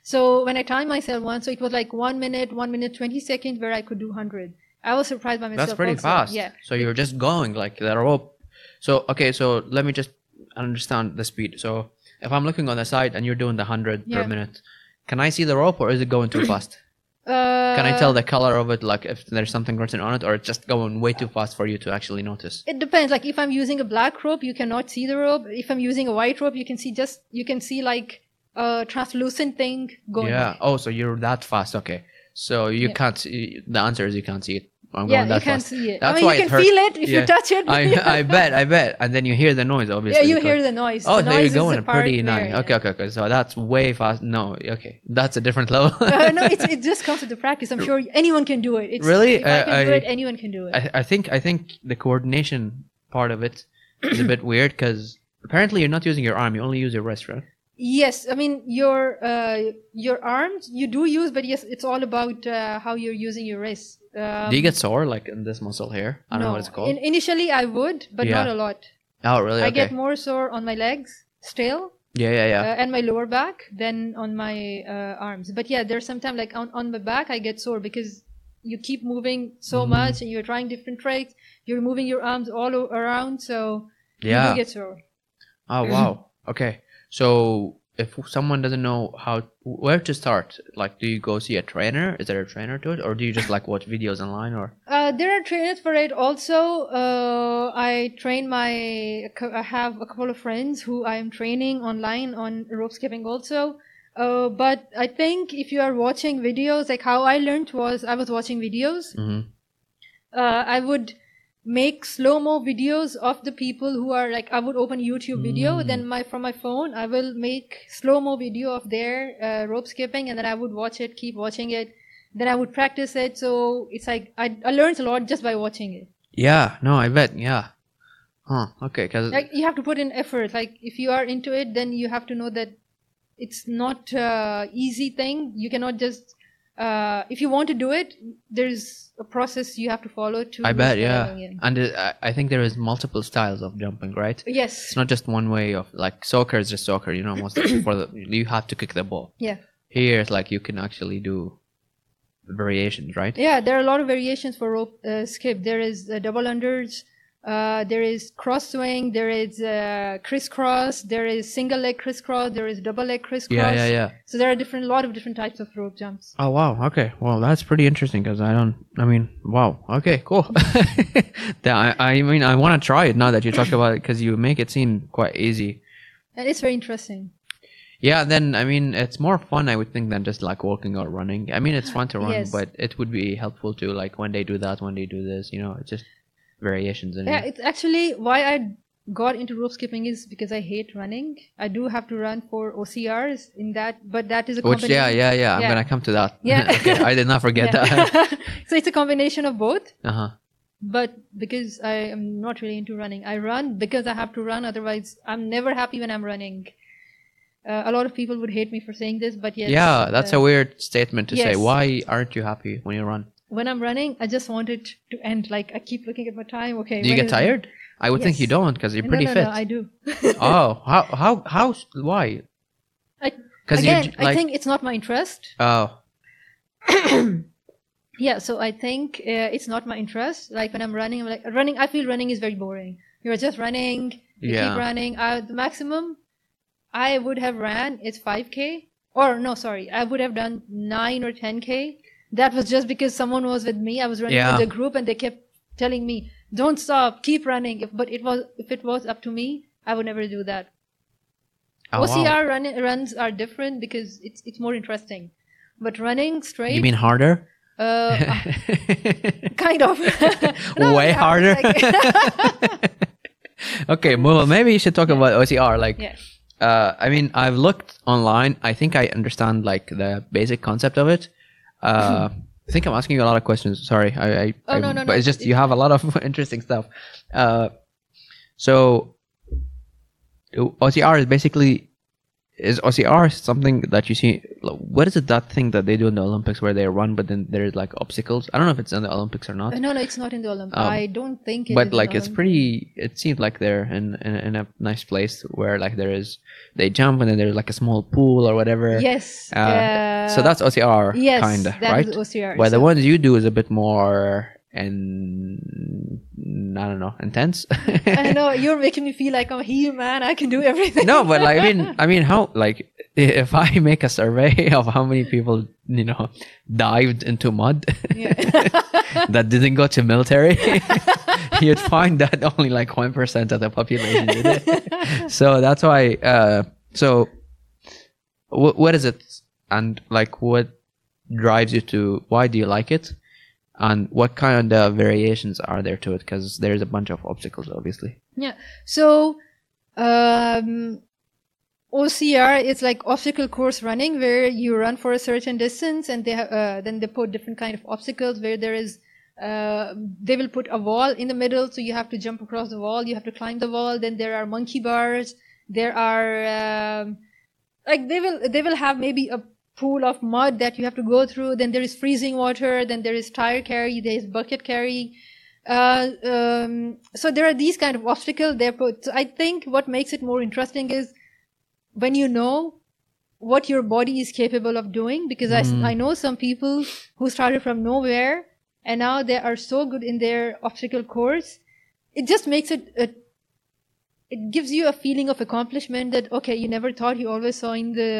[SPEAKER 1] So when I timed myself once, so it was like one minute, one minute twenty seconds where I could do hundred. I was surprised by myself.
[SPEAKER 2] That's pretty
[SPEAKER 1] also.
[SPEAKER 2] fast.
[SPEAKER 1] Yeah.
[SPEAKER 2] So you're just going like that rope. So okay, so let me just understand the speed. So if I'm looking on the side and you're doing the hundred
[SPEAKER 1] Yeah.
[SPEAKER 2] per minute, can I see the rope or is it going too fast?
[SPEAKER 1] Uh,
[SPEAKER 2] Can I tell the color of it, like if there's something written on it, or it's just going way too fast for you to actually notice?
[SPEAKER 1] It depends. Like if I'm using a black rope, you cannot see the rope. If I'm using a white rope, you can see just you can see like a translucent thing going.
[SPEAKER 2] yeah. Oh, so you're that fast. Okay. So you
[SPEAKER 1] Yeah.
[SPEAKER 2] can't. See, the answer is you can't see it. I'm
[SPEAKER 1] yeah,
[SPEAKER 2] going
[SPEAKER 1] you
[SPEAKER 2] that
[SPEAKER 1] can't
[SPEAKER 2] fast.
[SPEAKER 1] see it.
[SPEAKER 2] That's
[SPEAKER 1] I mean,
[SPEAKER 2] why
[SPEAKER 1] you
[SPEAKER 2] it
[SPEAKER 1] can
[SPEAKER 2] hurts.
[SPEAKER 1] feel it if
[SPEAKER 2] Yeah.
[SPEAKER 1] you touch it.
[SPEAKER 2] I I bet I bet, and then you hear the noise
[SPEAKER 1] yeah,
[SPEAKER 2] obviously.
[SPEAKER 1] you
[SPEAKER 2] because-
[SPEAKER 1] hear the noise.
[SPEAKER 2] Oh,
[SPEAKER 1] the
[SPEAKER 2] there you
[SPEAKER 1] noise is
[SPEAKER 2] go,
[SPEAKER 1] the
[SPEAKER 2] and pretty
[SPEAKER 1] part
[SPEAKER 2] nice.
[SPEAKER 1] there,
[SPEAKER 2] Okay, okay, okay. So that's way fast. No, okay, that's a different level.
[SPEAKER 1] yeah. Uh, no, it's, it just comes with the practice. I'm sure anyone can do it. It's,
[SPEAKER 2] Really?
[SPEAKER 1] If I can
[SPEAKER 2] Uh,
[SPEAKER 1] do
[SPEAKER 2] I-
[SPEAKER 1] it, anyone can do it.
[SPEAKER 2] I, I think I think the coordination part of it is a bit weird because apparently you're not using your arm; you only use your wrist, right?
[SPEAKER 1] yes, I mean your uh, your arms you do use, but yes, it's all about uh, how you're using your wrist. Um,
[SPEAKER 2] Do you get sore like in this muscle here? I don't
[SPEAKER 1] no.
[SPEAKER 2] know what it's called.
[SPEAKER 1] In- initially, I would, but
[SPEAKER 2] Yeah.
[SPEAKER 1] not a lot.
[SPEAKER 2] oh, really? Okay.
[SPEAKER 1] I get more sore on my legs still
[SPEAKER 2] Yeah, yeah,
[SPEAKER 1] uh,
[SPEAKER 2] yeah.
[SPEAKER 1] and my lower back than on my uh, arms. But yeah, there's sometimes like on, on my back I get sore because you keep moving so
[SPEAKER 2] Mm.
[SPEAKER 1] much and you're trying different tricks. You're moving your arms all o- around, so you
[SPEAKER 2] yeah.
[SPEAKER 1] do get sore.
[SPEAKER 2] oh, wow. Okay. So if someone doesn't know how where to start, like do you go see a trainer? Is there a trainer to it or do you just like watch videos online or
[SPEAKER 1] Uh, there are trainers for it also. Uh, I train my. I have a couple of friends who I am training online on rope skipping also. Uh, but I think if you are watching Mm-hmm. videos, like how I learned was I was watching videos
[SPEAKER 2] Mhm.
[SPEAKER 1] uh, I would make slow mo videos of the people who are like I would open YouTube video
[SPEAKER 2] Hmm.
[SPEAKER 1] then my from my phone I will make slow mo video of their uh, rope skipping and then I would watch it keep watching it then I would practice it so it's like I, I learned a lot just by watching it
[SPEAKER 2] Yeah. No, I bet. Yeah. Huh. Okay. Because
[SPEAKER 1] like you have to put in effort like if you are into it then you have to know that it's not uh, easy thing you cannot just uh, if you want to do it there's a process you have to follow to
[SPEAKER 2] I bet. Yeah.
[SPEAKER 1] surviving it.
[SPEAKER 2] And uh, I- I think there is multiple styles of jumping, right?
[SPEAKER 1] yes
[SPEAKER 2] It's not just one way of like soccer is just soccer. You know, most for the you have to kick the ball.
[SPEAKER 1] yeah
[SPEAKER 2] Here, it's like you can actually do variations, right?
[SPEAKER 1] yeah there are a lot of variations for rope uh, skip there is uh, double unders uh, there is cross swing there is uh, crisscross there is single leg crisscross there is double leg crisscross
[SPEAKER 2] Yeah, yeah, yeah.
[SPEAKER 1] so there are different lot of different types of rope jumps
[SPEAKER 2] Oh wow. Okay. Well, that's pretty interesting because I don't. I mean, wow. Okay. Cool. yeah, I, I mean, I want to try it now that you talk about it because you make it seem quite easy.
[SPEAKER 1] and it's very interesting
[SPEAKER 2] Yeah. Then I mean, it's more fun I would think than just like walking or running. I mean, it's fun to run,
[SPEAKER 1] Yes.
[SPEAKER 2] but it would be helpful to like one day do that, one day do this. You know, it's just variations in
[SPEAKER 1] Yeah,
[SPEAKER 2] it.
[SPEAKER 1] it's actually why I got into rope skipping is because I hate running. I do have to run for OCRs in that, but that is a
[SPEAKER 2] Which yeah,
[SPEAKER 1] combination.
[SPEAKER 2] yeah, yeah. I'm
[SPEAKER 1] Yeah.
[SPEAKER 2] gonna come to that.
[SPEAKER 1] Yeah.
[SPEAKER 2] okay, I did not forget that.
[SPEAKER 1] so it's a combination of both.
[SPEAKER 2] uh huh.
[SPEAKER 1] But because I am not really into running, I run because I have to run. Otherwise, I'm never happy when I'm running. Uh, a lot of people would hate me for saying this, but yes.
[SPEAKER 2] yeah, that's
[SPEAKER 1] uh,
[SPEAKER 2] a weird statement to say.
[SPEAKER 1] yes.
[SPEAKER 2] Why aren't you happy when you run?
[SPEAKER 1] when I'm running, I just want it to end. Like I keep looking at my time. Okay.
[SPEAKER 2] Do you
[SPEAKER 1] when
[SPEAKER 2] get
[SPEAKER 1] is it?
[SPEAKER 2] tired? I would think you
[SPEAKER 1] Yes.
[SPEAKER 2] don't because you're
[SPEAKER 1] No,
[SPEAKER 2] pretty
[SPEAKER 1] no,
[SPEAKER 2] fit.
[SPEAKER 1] No, I do.
[SPEAKER 2] oh, how how how why?
[SPEAKER 1] I,
[SPEAKER 2] Because you
[SPEAKER 1] again,
[SPEAKER 2] j-
[SPEAKER 1] I
[SPEAKER 2] like
[SPEAKER 1] think it's not my interest.
[SPEAKER 2] oh
[SPEAKER 1] Yeah, so I think uh, it's not my interest. Like when I'm running, I'm like running. I feel running is very boring. You're just running. You
[SPEAKER 2] yeah
[SPEAKER 1] keep running. I, the maximum I would have ran is 5k, or no, sorry, I would have done nine or 10k. That was just because someone was with me. I was running
[SPEAKER 2] Yeah.
[SPEAKER 1] with the group, and they kept telling me, "Don't stop, keep running." If, but it was if it was up to me, I would never do that.
[SPEAKER 2] Oh, wow.
[SPEAKER 1] OCR run, runs are different because it's it's more interesting. But running straight,
[SPEAKER 2] You mean harder?
[SPEAKER 1] uh, kind of
[SPEAKER 2] Way
[SPEAKER 1] yeah,
[SPEAKER 2] harder.
[SPEAKER 1] like-
[SPEAKER 2] okay, well maybe you should talk about OCR. Like,
[SPEAKER 1] yeah
[SPEAKER 2] uh, I mean, I've looked online. I think I understand like the basic concept of it. Uh, I think I'm asking you a lot of questions. Sorry, I. I
[SPEAKER 1] Oh,
[SPEAKER 2] I-
[SPEAKER 1] no, no,
[SPEAKER 2] But
[SPEAKER 1] no.
[SPEAKER 2] it's just you have a lot of interesting stuff. Uh, so OCR is basically is OCR something that you see? What is it that thing that they do in the Olympics where they run, but then there's like obstacles? I don't know if it's in the Olympics or not.
[SPEAKER 1] Uh, no no it's not in the olympics
[SPEAKER 2] Um,
[SPEAKER 1] i don't think it is in
[SPEAKER 2] but
[SPEAKER 1] the
[SPEAKER 2] like it's
[SPEAKER 1] Olymp-
[SPEAKER 2] pretty it seems like they're in, in in a nice place where like there is they jump and then there's like a small pool or whatever
[SPEAKER 1] yes
[SPEAKER 2] Uh, so that's ocr
[SPEAKER 1] yes
[SPEAKER 2] kind of right
[SPEAKER 1] that is OCR.
[SPEAKER 2] well the
[SPEAKER 1] So-
[SPEAKER 2] ones you do is a bit more and i don't know intense
[SPEAKER 1] i know you're making me feel like i'm a heel man i can do everything
[SPEAKER 2] no but like i mean i mean how like if i make a survey of how many people you know dived into mud
[SPEAKER 1] Yeah.
[SPEAKER 2] that didn't go to military you'd find that only like 1% of the population did it so that's why uh so wh- what is it and like what drives you to why do you like it and what kind of variations are there to it because there's a bunch of obstacles obviously
[SPEAKER 1] so um OCR is like obstacle course running, where you run for a certain distance, and they ha- uh, then they put different kind of obstacles. Where there is, uh, they will put a wall in the middle, so you have to jump across the wall. You have to climb the wall. Then there are monkey bars. There are um, like they will they will have maybe a pool of mud that you have to go through. Then there is freezing water. Then there is tire carry. There is bucket carry. Uh, um, so there are these kind of obstacles they put. So I think what makes it more interesting is when you know what your body is capable of doing because I s
[SPEAKER 2] Mm.
[SPEAKER 1] I I, know some people who started from nowhere and now they are so good in their obstacle course it just makes it a, it gives you a feeling of accomplishment that okay you never thought you always saw in the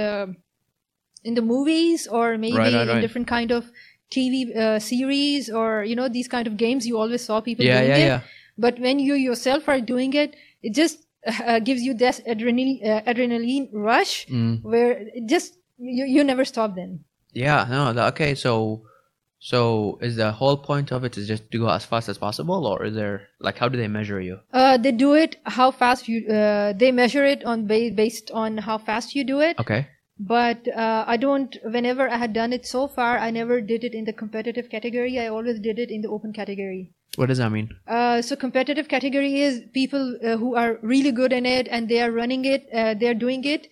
[SPEAKER 1] in the movies or maybe
[SPEAKER 2] Right, right,
[SPEAKER 1] in
[SPEAKER 2] right.
[SPEAKER 1] different kind of tv uh, series or you know these kind of games you always saw people doing it but when you yourself are doing it it just uh, gives you this adrenaline uh, adrenaline rush
[SPEAKER 2] Mm.
[SPEAKER 1] where it just you, you never stop then
[SPEAKER 2] Yeah, no, tha- okay, so So is the whole point of it is just to go as fast as possible, or is there like how do they measure you?
[SPEAKER 1] Uh, they do it how fast you. Uh, they measure it on ba- based on how fast you do it.
[SPEAKER 2] Okay.
[SPEAKER 1] But uh, I don't. Whenever I had done it so far, I never did it in the competitive category. I always did it in the open category.
[SPEAKER 2] What does that mean?
[SPEAKER 1] Uh, so competitive category is people uh, who are really good in it and they are running it uh, they are doing it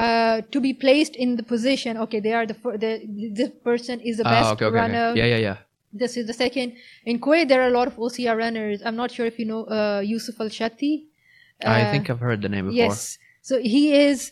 [SPEAKER 1] uh, to be placed in the position okay they are the fir- the this person is the best
[SPEAKER 2] Ah, okay, okay,
[SPEAKER 1] runner
[SPEAKER 2] okay. Yeah, yeah, yeah.
[SPEAKER 1] this is the second in Kuwait there are a lot of OCR runners I'm not sure if you know uh, Yusuf Al Shatti
[SPEAKER 2] I
[SPEAKER 1] Uh,
[SPEAKER 2] think I've heard the name before.
[SPEAKER 1] Yes. So he is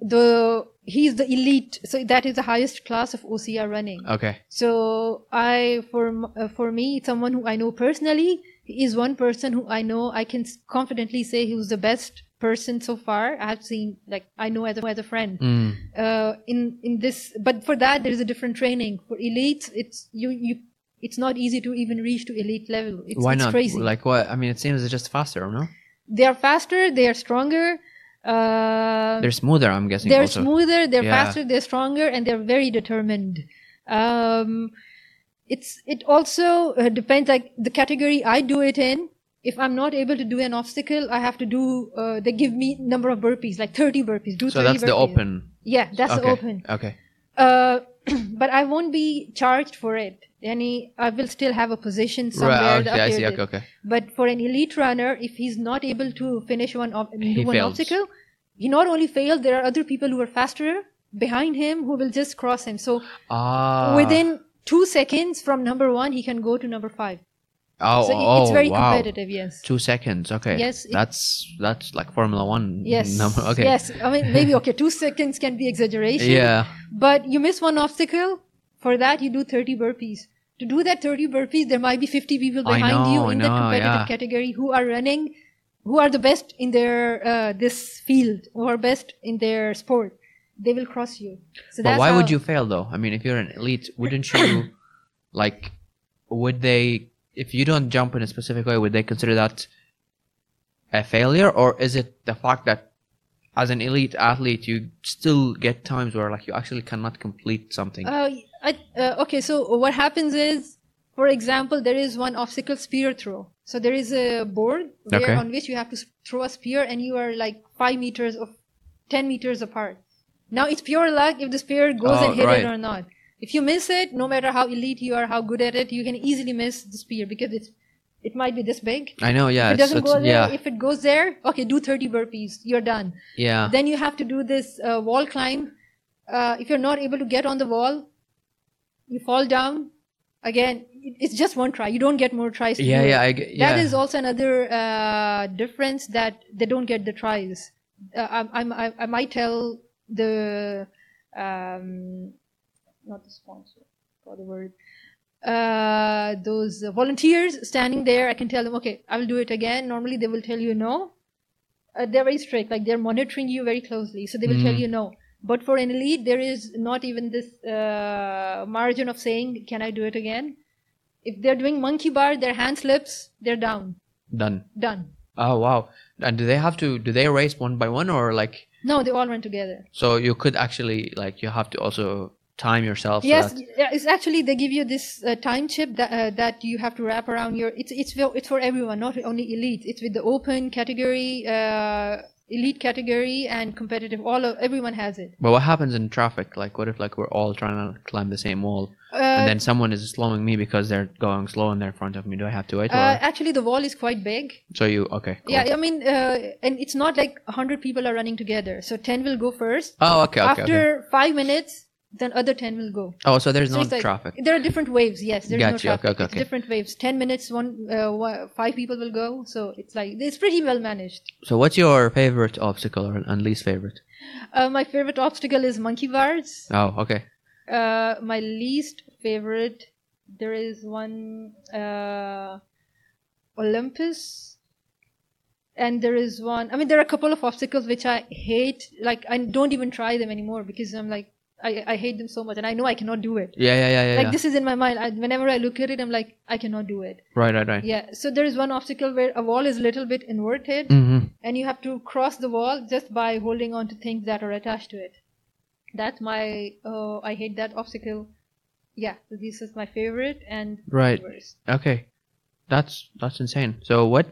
[SPEAKER 1] the he's the elite. So that is the highest class of OCR running.
[SPEAKER 2] Okay.
[SPEAKER 1] So I for m- uh, for me, someone who I know personally he is one person who I know I can s- confidently say he was the best person so far I have seen. Like I know as a, as a friend
[SPEAKER 2] Mm.
[SPEAKER 1] uh, in in this. But for that, there is a different training for elites. It's you you. It's not easy to even reach to elite level. It's,
[SPEAKER 2] Why
[SPEAKER 1] it's
[SPEAKER 2] not?
[SPEAKER 1] crazy
[SPEAKER 2] Like what? I mean, it seems it's just faster, no?
[SPEAKER 1] they are faster they are stronger uh,
[SPEAKER 2] They're smoother, I'm guessing.
[SPEAKER 1] they're
[SPEAKER 2] also.
[SPEAKER 1] smoother they're
[SPEAKER 2] Yeah.
[SPEAKER 1] faster they're stronger and they're very determined um, it's it also uh, depends like the category i do it in if i'm not able to do an obstacle i have to do uh, they give me number of burpees like 30 burpees do
[SPEAKER 2] So
[SPEAKER 1] 30
[SPEAKER 2] that's the
[SPEAKER 1] burpees.
[SPEAKER 2] open.
[SPEAKER 1] yeah that's
[SPEAKER 2] okay.
[SPEAKER 1] the open
[SPEAKER 2] Okay.
[SPEAKER 1] uh, but i won't be charged for it any i will still have a position somewhere
[SPEAKER 2] Right.
[SPEAKER 1] that
[SPEAKER 2] Okay. I see.
[SPEAKER 1] appears
[SPEAKER 2] Okay. Okay.
[SPEAKER 1] but for an elite runner, if he's not able to finish one ob-
[SPEAKER 2] He
[SPEAKER 1] do one
[SPEAKER 2] fails.
[SPEAKER 1] obstacle, he not only failed. There are other people who are faster behind him who will just cross him. So
[SPEAKER 2] Ah.
[SPEAKER 1] within two seconds from number one, he can go to number five.
[SPEAKER 2] Oh.
[SPEAKER 1] so it-
[SPEAKER 2] oh
[SPEAKER 1] it's very
[SPEAKER 2] wow.
[SPEAKER 1] competitive. Yes.
[SPEAKER 2] Two seconds. Okay.
[SPEAKER 1] Yes, it-
[SPEAKER 2] That's that's like Formula One.
[SPEAKER 1] Yes.
[SPEAKER 2] Number. Okay.
[SPEAKER 1] Yes. I mean, maybe okay. Two seconds can be exaggeration.
[SPEAKER 2] Yeah.
[SPEAKER 1] But you miss one obstacle. For that, you do thirty burpees. To do that thirty burpees, there might be fifty people
[SPEAKER 2] I
[SPEAKER 1] behind
[SPEAKER 2] know,
[SPEAKER 1] you
[SPEAKER 2] I
[SPEAKER 1] in
[SPEAKER 2] know,
[SPEAKER 1] that competitive
[SPEAKER 2] yeah.
[SPEAKER 1] category who are running, who are the best in their uh, this field or best in their sport. They will cross you. So
[SPEAKER 2] But
[SPEAKER 1] that's
[SPEAKER 2] why would
[SPEAKER 1] how-
[SPEAKER 2] you fail though? I mean, if you're an elite, wouldn't you like? Would they? If you don't jump in a specific way, would they consider that a failure, or is it the fact that as an elite athlete, you still get times where like you actually cannot complete something?
[SPEAKER 1] Uh, I, uh, okay, so what happens is, for example, there is one obstacle spear throw. So there is a board where,
[SPEAKER 2] Okay.
[SPEAKER 1] on which you have to s- throw a spear, and you are like five meters of, ten meters apart. Now it's pure luck if the spear goes
[SPEAKER 2] Oh,
[SPEAKER 1] and hit
[SPEAKER 2] right.
[SPEAKER 1] it or not. If you miss it, no matter how elite you are, how good at it, you can easily miss the spear because it's it might be this big.
[SPEAKER 2] I know. Yeah.
[SPEAKER 1] If it
[SPEAKER 2] it's,
[SPEAKER 1] doesn't
[SPEAKER 2] it's-
[SPEAKER 1] go there.
[SPEAKER 2] yeah.
[SPEAKER 1] If it goes there, okay, do thirty burpees. You're done
[SPEAKER 2] yeah.
[SPEAKER 1] then you have to do this uh, wall climb uh, if you're not able to get on the wall you fall down again it- it's just one try you don't get more tries to
[SPEAKER 2] yeah.
[SPEAKER 1] do
[SPEAKER 2] Yeah.
[SPEAKER 1] it.
[SPEAKER 2] I g- yeah.
[SPEAKER 1] That is also another uh, difference that they don't get the tries uh, I, I'm- I, I might tell the um, not the sponsor for the word uh, those volunteers standing there i can tell them okay i will do it again normally they will tell you no uh, they're very strict like they're monitoring you very closely so they will tell
[SPEAKER 2] Mhm.
[SPEAKER 1] you no but for an elite there is not even this uh, margin of saying can i do it again if they're doing monkey bar their hand slips they're down
[SPEAKER 2] Done.
[SPEAKER 1] done
[SPEAKER 2] Oh wow. And do they have to? Do they race one by one, or like?
[SPEAKER 1] no they all run together
[SPEAKER 2] So you could actually like you have to also time yourself. so
[SPEAKER 1] yes
[SPEAKER 2] that-
[SPEAKER 1] yeah, it's actually they give you this uh, time chip that uh, that you have to wrap around your it's it's for, it's for everyone not only elite it's with the open category uh, elite category and competitive all of, everyone has it
[SPEAKER 2] But what happens in traffic? Like, what if like we're all trying to climb the same wall,
[SPEAKER 1] uh,
[SPEAKER 2] and then someone is slowing me because they're going slow and they're in front of me? Do I have to wait?
[SPEAKER 1] uh,
[SPEAKER 2] or...
[SPEAKER 1] actually the wall is quite big
[SPEAKER 2] So you okay? Cool.
[SPEAKER 1] yeah i mean uh, and it's not like 100 people are running together so 10 will go first
[SPEAKER 2] Oh, okay, okay,
[SPEAKER 1] after
[SPEAKER 2] okay.
[SPEAKER 1] 5 minutes then other 10 will go
[SPEAKER 2] Oh, so there's
[SPEAKER 1] So
[SPEAKER 2] no
[SPEAKER 1] it's like-
[SPEAKER 2] traffic.
[SPEAKER 1] There are different waves. Yes, there's no
[SPEAKER 2] Gotcha, okay,
[SPEAKER 1] traffic.
[SPEAKER 2] okay,
[SPEAKER 1] it's
[SPEAKER 2] okay.
[SPEAKER 1] different waves. Ten minutes, one uh, wa- five people will go. So it's like it's pretty well managed.
[SPEAKER 2] So what's your favorite obstacle or and least favorite?
[SPEAKER 1] Uh, my favorite obstacle is monkey bars.
[SPEAKER 2] Oh, okay.
[SPEAKER 1] Uh, my least favorite, there is one uh, Olympus, and there is one. I mean, there are a couple of obstacles which I hate. Like I don't even try them anymore because I'm like I, I hate them so much, and I know I cannot do it.
[SPEAKER 2] Yeah, yeah, yeah, yeah.
[SPEAKER 1] Like
[SPEAKER 2] yeah.
[SPEAKER 1] this is in my mind. I, whenever I look at it, I'm like I cannot do it.
[SPEAKER 2] Right, right, right.
[SPEAKER 1] Yeah, so there is one obstacle where a wall is a little bit inverted
[SPEAKER 2] Mm-hmm.
[SPEAKER 1] and you have to cross the wall just by holding uh, on to things that are attached to it. That's my, oh, I hate that obstacle. yeah, so this is my favorite and
[SPEAKER 2] Right.
[SPEAKER 1] worst.
[SPEAKER 2] Okay, that's that's insane. So what?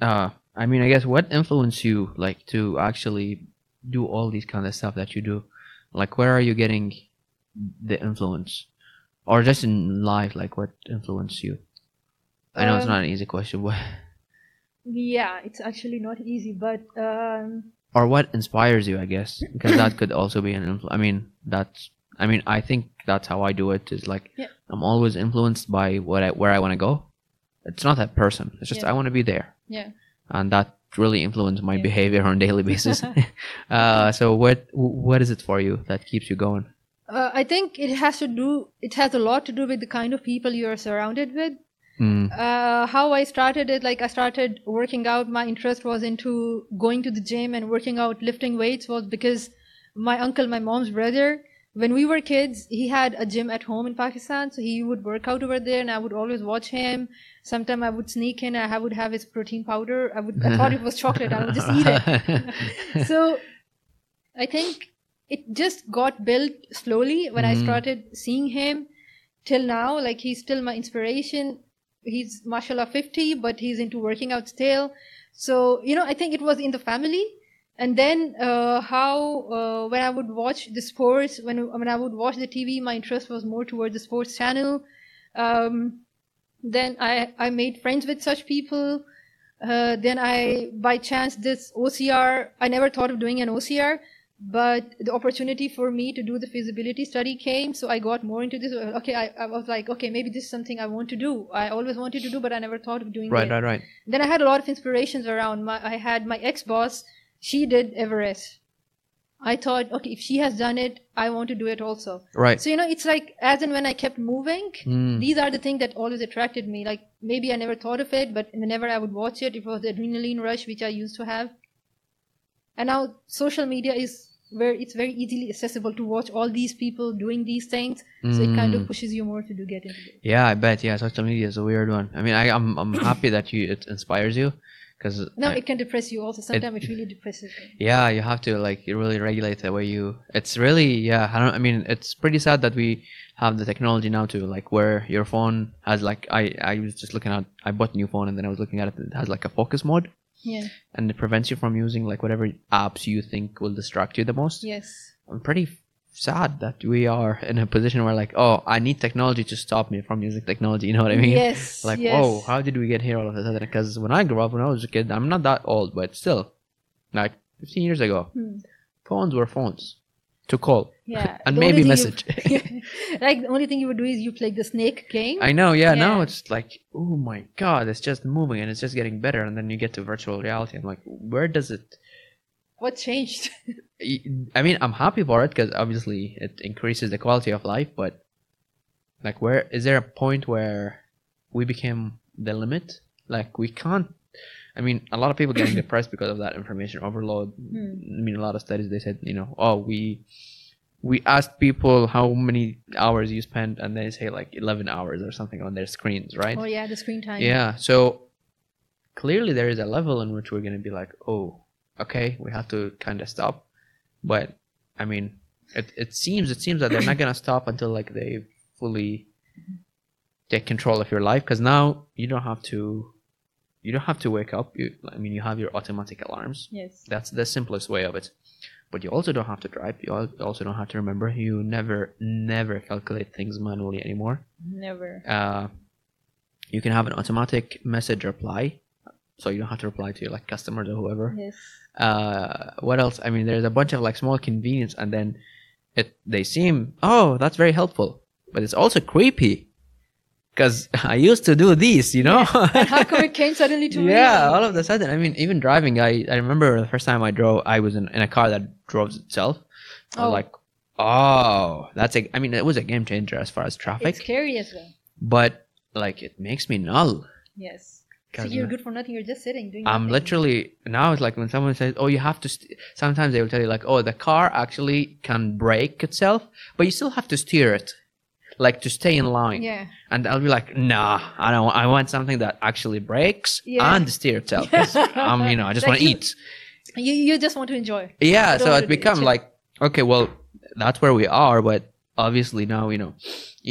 [SPEAKER 2] Uh, I mean, I guess what influenced you like to actually do all these kind of stuff that you do? Like, where are you getting the influence, or just in life? Like, what influenced you? I know it's
[SPEAKER 1] Um,
[SPEAKER 2] not an easy question, but
[SPEAKER 1] Yeah, it's actually not easy, but um,
[SPEAKER 2] or what inspires you? I guess because that could also be an influence. I mean, that's. I mean, I think that's how I do it. Is like
[SPEAKER 1] Yeah.
[SPEAKER 2] I'm always influenced by what I, where I want to go. It's not that person. It's just
[SPEAKER 1] Yeah.
[SPEAKER 2] I want to be there.
[SPEAKER 1] yeah.
[SPEAKER 2] and that really influenced my
[SPEAKER 1] Yeah.
[SPEAKER 2] behavior on a daily basis. uh, so what what is it for you that keeps you going?
[SPEAKER 1] Uh, I think it has to do. It has a lot to do with the kind of people you are surrounded with.
[SPEAKER 2] Mm,
[SPEAKER 1] Uh, how I started it, like I started working out. My interest was into going to the gym and working out, lifting weights was because my uncle, my mom's brother, when we were kids, he had a gym at home in Pakistan, so he would work out over there, and I would always watch him. Sometime I would sneak in. I ha- would have his protein powder. I would. I thought it was chocolate. I would just eat it. so I think it just got built slowly when I
[SPEAKER 2] Mhm.
[SPEAKER 1] started seeing him till now. Like he's still my inspiration. He's mashallah 50, but he's into working out still. So, you know, I think it was in the family. And then uh, how uh, when I would watch the sports, when when I would watch the TV, my interest was more towards the sports channel. Um, then I I made friends with such people. Uh, then I, by chance, this OCR, I never thought of doing an OCR, but the opportunity for me to do the feasibility study came. So I got more into this. uh, Okay, I, I was like, okay, maybe this is something I want to do. I always wanted to do, but I never thought of doing
[SPEAKER 2] right,
[SPEAKER 1] it
[SPEAKER 2] right, right.
[SPEAKER 1] then I had a lot of inspirations around. My, I had my ex boss, she did Everest. I thought, okay, if she has done it, I want to do it also.
[SPEAKER 2] Right.
[SPEAKER 1] So, you know, it's like as and when I kept moving,
[SPEAKER 2] Mm,
[SPEAKER 1] these are the things that always attracted me. Like maybe I never thought of it, but whenever I would watch it, it was the adrenaline rush which I used to have. And now social media is where it's very easily accessible to watch all these people doing these things. So it kind
[SPEAKER 2] mm.
[SPEAKER 1] of pushes you more to do get into it.
[SPEAKER 2] Yeah, I bet. Yeah, social media is a weird one. I mean, I, I'm I'm happy that you it inspires you, because
[SPEAKER 1] Now it can depress you also. Sometimes it, really depresses me.
[SPEAKER 2] yeah you have to like really regulate the way you it's really yeah i don't i mean it's pretty sad that we have the technology now to like where your phone has like i i was just looking at i bought a new phone and then i was looking at it it has like a focus mode
[SPEAKER 1] Yeah.
[SPEAKER 2] and it prevents you from using like whatever apps you think will distract you the most
[SPEAKER 1] Yes.
[SPEAKER 2] i'm pretty sad that we are in a position where like oh i need technology to stop me from using technology you know what i mean
[SPEAKER 1] Yes.
[SPEAKER 2] like
[SPEAKER 1] yes.
[SPEAKER 2] whoa how did we get here all of a sudden because when i grew up when i was a kid i'm not that old but still like 15 years ago
[SPEAKER 1] Hmm.
[SPEAKER 2] phones were phones to call
[SPEAKER 1] Yeah.
[SPEAKER 2] and
[SPEAKER 1] The
[SPEAKER 2] maybe
[SPEAKER 1] only
[SPEAKER 2] message
[SPEAKER 1] thing you- like the only thing you would do is you play the snake game.
[SPEAKER 2] i know yeah, now
[SPEAKER 1] Yeah.
[SPEAKER 2] it's like oh my god it's just moving and it's just getting better and then you get to virtual reality i'm like where does it
[SPEAKER 1] what changed?
[SPEAKER 2] I- i mean i'm happy for it because obviously it increases the quality of life but like where is there a point where we became the limit like we can't i mean a lot of people getting depressed because of that information overload
[SPEAKER 1] Hmm.
[SPEAKER 2] I mean, a lot of studies they said, you know, oh, we we asked people how many hours you spend, and they say like eleven hours or something on their screens, right?
[SPEAKER 1] Oh yeah, the screen time.
[SPEAKER 2] yeah. So clearly, there is a level in which we're gonna be like, oh, okay, we have to kind of stop. But I mean, it it seems it seems that they're not gonna stop until like they fully take control of your life, because now you don't have to. You don't have to wake up. You, I mean, you have your automatic alarms.
[SPEAKER 1] Yes.
[SPEAKER 2] That's the simplest way of it. But you also don't have to drive. You al- also don't have to remember. You never, never calculate things manually anymore.
[SPEAKER 1] Never.
[SPEAKER 2] Uh, you can have an automatic message reply, so you don't have to reply to your like customers or whoever.
[SPEAKER 1] Yes.
[SPEAKER 2] Uh, what else? I mean, there's a bunch of like small convenience, and then it they seem oh that's very helpful, but it's also creepy, because I used to do these, you know.
[SPEAKER 1] How come it came suddenly to me?
[SPEAKER 2] Yeah, all of a sudden. I mean, even driving, I, I remember the first time I drove, I was in, in a car that drove itself. I was
[SPEAKER 1] Oh.
[SPEAKER 2] like, oh, that's a, I mean, it was a game changer as far as traffic,
[SPEAKER 1] It's scary as well.
[SPEAKER 2] but like it makes me null.
[SPEAKER 1] Yes. So
[SPEAKER 2] 'cause
[SPEAKER 1] you're good for nothing. You're just sitting doing.
[SPEAKER 2] I'm
[SPEAKER 1] nothing.
[SPEAKER 2] literally, now it's like when someone says, oh, you have to, st-, sometimes they will tell you, like, oh, the car actually can brake itself, but you still have to steer it, like to stay in line.
[SPEAKER 1] Yeah.
[SPEAKER 2] And I'll be like, nah, I don't. I want something that actually breaks
[SPEAKER 1] Yeah.
[SPEAKER 2] and steer itself. 'cause I'm, you know, I just
[SPEAKER 1] Like
[SPEAKER 2] want to
[SPEAKER 1] you-
[SPEAKER 2] eat.
[SPEAKER 1] You you just want to enjoy.
[SPEAKER 2] Yeah,
[SPEAKER 1] don't
[SPEAKER 2] so
[SPEAKER 1] wanna
[SPEAKER 2] it
[SPEAKER 1] do it,
[SPEAKER 2] become
[SPEAKER 1] yeah.
[SPEAKER 2] like, okay, well, that's where we are, but obviously now you know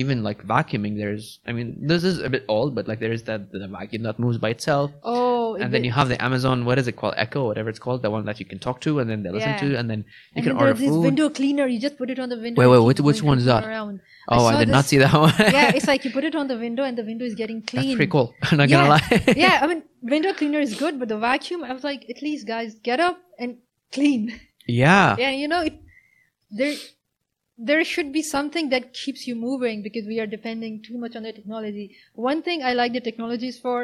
[SPEAKER 2] even like vacuuming there's i mean this is a bit old but like there is that the vacuum that moves by itself
[SPEAKER 1] Oh,
[SPEAKER 2] and then you have the amazon what is it called echo whatever it's called the one that you can talk to and then they listen
[SPEAKER 1] Yeah.
[SPEAKER 2] to and then you
[SPEAKER 1] and
[SPEAKER 2] can
[SPEAKER 1] then
[SPEAKER 2] order
[SPEAKER 1] there's this
[SPEAKER 2] food
[SPEAKER 1] window cleaner. You just put it on the window.
[SPEAKER 2] Wait,
[SPEAKER 1] and
[SPEAKER 2] wait,
[SPEAKER 1] keep
[SPEAKER 2] which- which
[SPEAKER 1] going
[SPEAKER 2] one is
[SPEAKER 1] and
[SPEAKER 2] that?
[SPEAKER 1] around.
[SPEAKER 2] oh i,
[SPEAKER 1] saw
[SPEAKER 2] did not
[SPEAKER 1] this-
[SPEAKER 2] see that one
[SPEAKER 1] yeah, it's like you put it on the window, and the window is getting clean.
[SPEAKER 2] that's pretty cool i'm not
[SPEAKER 1] Yeah.
[SPEAKER 2] gonna lie
[SPEAKER 1] yeah, I mean, window cleaner is good, but the vacuum, I was like, at least guys, get up and clean.
[SPEAKER 2] yeah
[SPEAKER 1] Yeah, you know, it, there, there should be something that keeps you moving because we are depending too much on the technology. One thing I like the technologies for,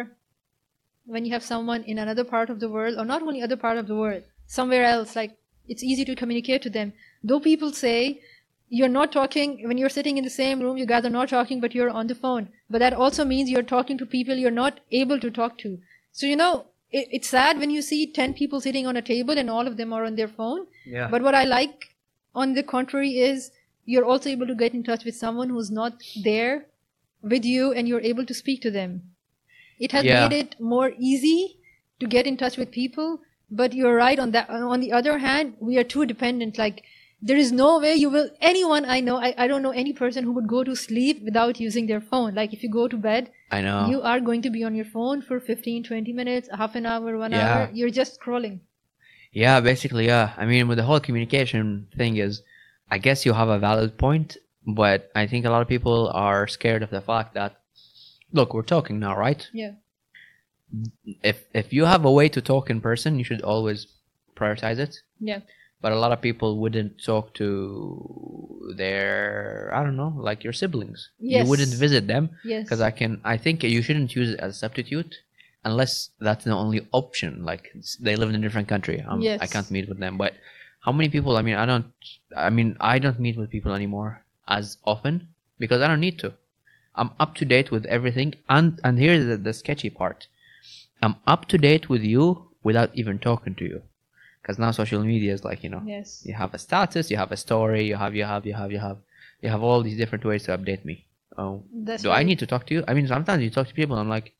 [SPEAKER 1] when you have someone in another part of the world, or not only other part of the world, somewhere else, like it's easy to communicate to them. Though people say you're not talking when you're sitting in the same room, you guys are not talking, but you're on the phone. But that also means you're talking to people you're not able to talk to. So you know, it, it's sad when you see ten people sitting on a table and all of them are on their phone.
[SPEAKER 2] yeah
[SPEAKER 1] But what I like, on the contrary, is you're also able to get in touch with someone who's not there with you and you're able to speak to them. It has
[SPEAKER 2] Yeah.
[SPEAKER 1] made it more easy to get in touch with people, but you're right on that. On the other hand, we are too dependent. Like, there is no way you will, anyone I know, I, I don't know any person who would go to sleep without using their phone. Like, if you go to bed,
[SPEAKER 2] i know
[SPEAKER 1] you are going to be on your phone for 15, 20 minutes, half an hour, one
[SPEAKER 2] Yeah.
[SPEAKER 1] hour. You're just scrolling.
[SPEAKER 2] Yeah, basically, yeah. I mean, with the whole communication thing is, I guess you have a valid point, but I think a lot of people are scared of the fact that, look, we're talking now, right?
[SPEAKER 1] Yeah.
[SPEAKER 2] If if you have a way to talk in person, you should always prioritize it.
[SPEAKER 1] Yeah.
[SPEAKER 2] But a lot of people wouldn't talk to their, I don't know, like your siblings. You wouldn't
[SPEAKER 1] Yes.
[SPEAKER 2] visit them
[SPEAKER 1] Yes.
[SPEAKER 2] because I can. I think you shouldn't use it as a substitute unless that's the only option. Like s- they live in a different country. Um, I
[SPEAKER 1] Yes.
[SPEAKER 2] can't meet with them. But how many people? I mean, I don't. I mean, I don't meet with people anymore as often because I don't need to. I'm up to date with everything. And and here's the, the sketchy part. I'm up to date with you without even talking to you, because now social media is like you know
[SPEAKER 1] yes.
[SPEAKER 2] you have a status, you have a story, you have you have you have you have you have all these different ways to update me. Oh,
[SPEAKER 1] That's
[SPEAKER 2] do I
[SPEAKER 1] right.
[SPEAKER 2] need to talk to you? I mean, sometimes you talk to people. I'm like,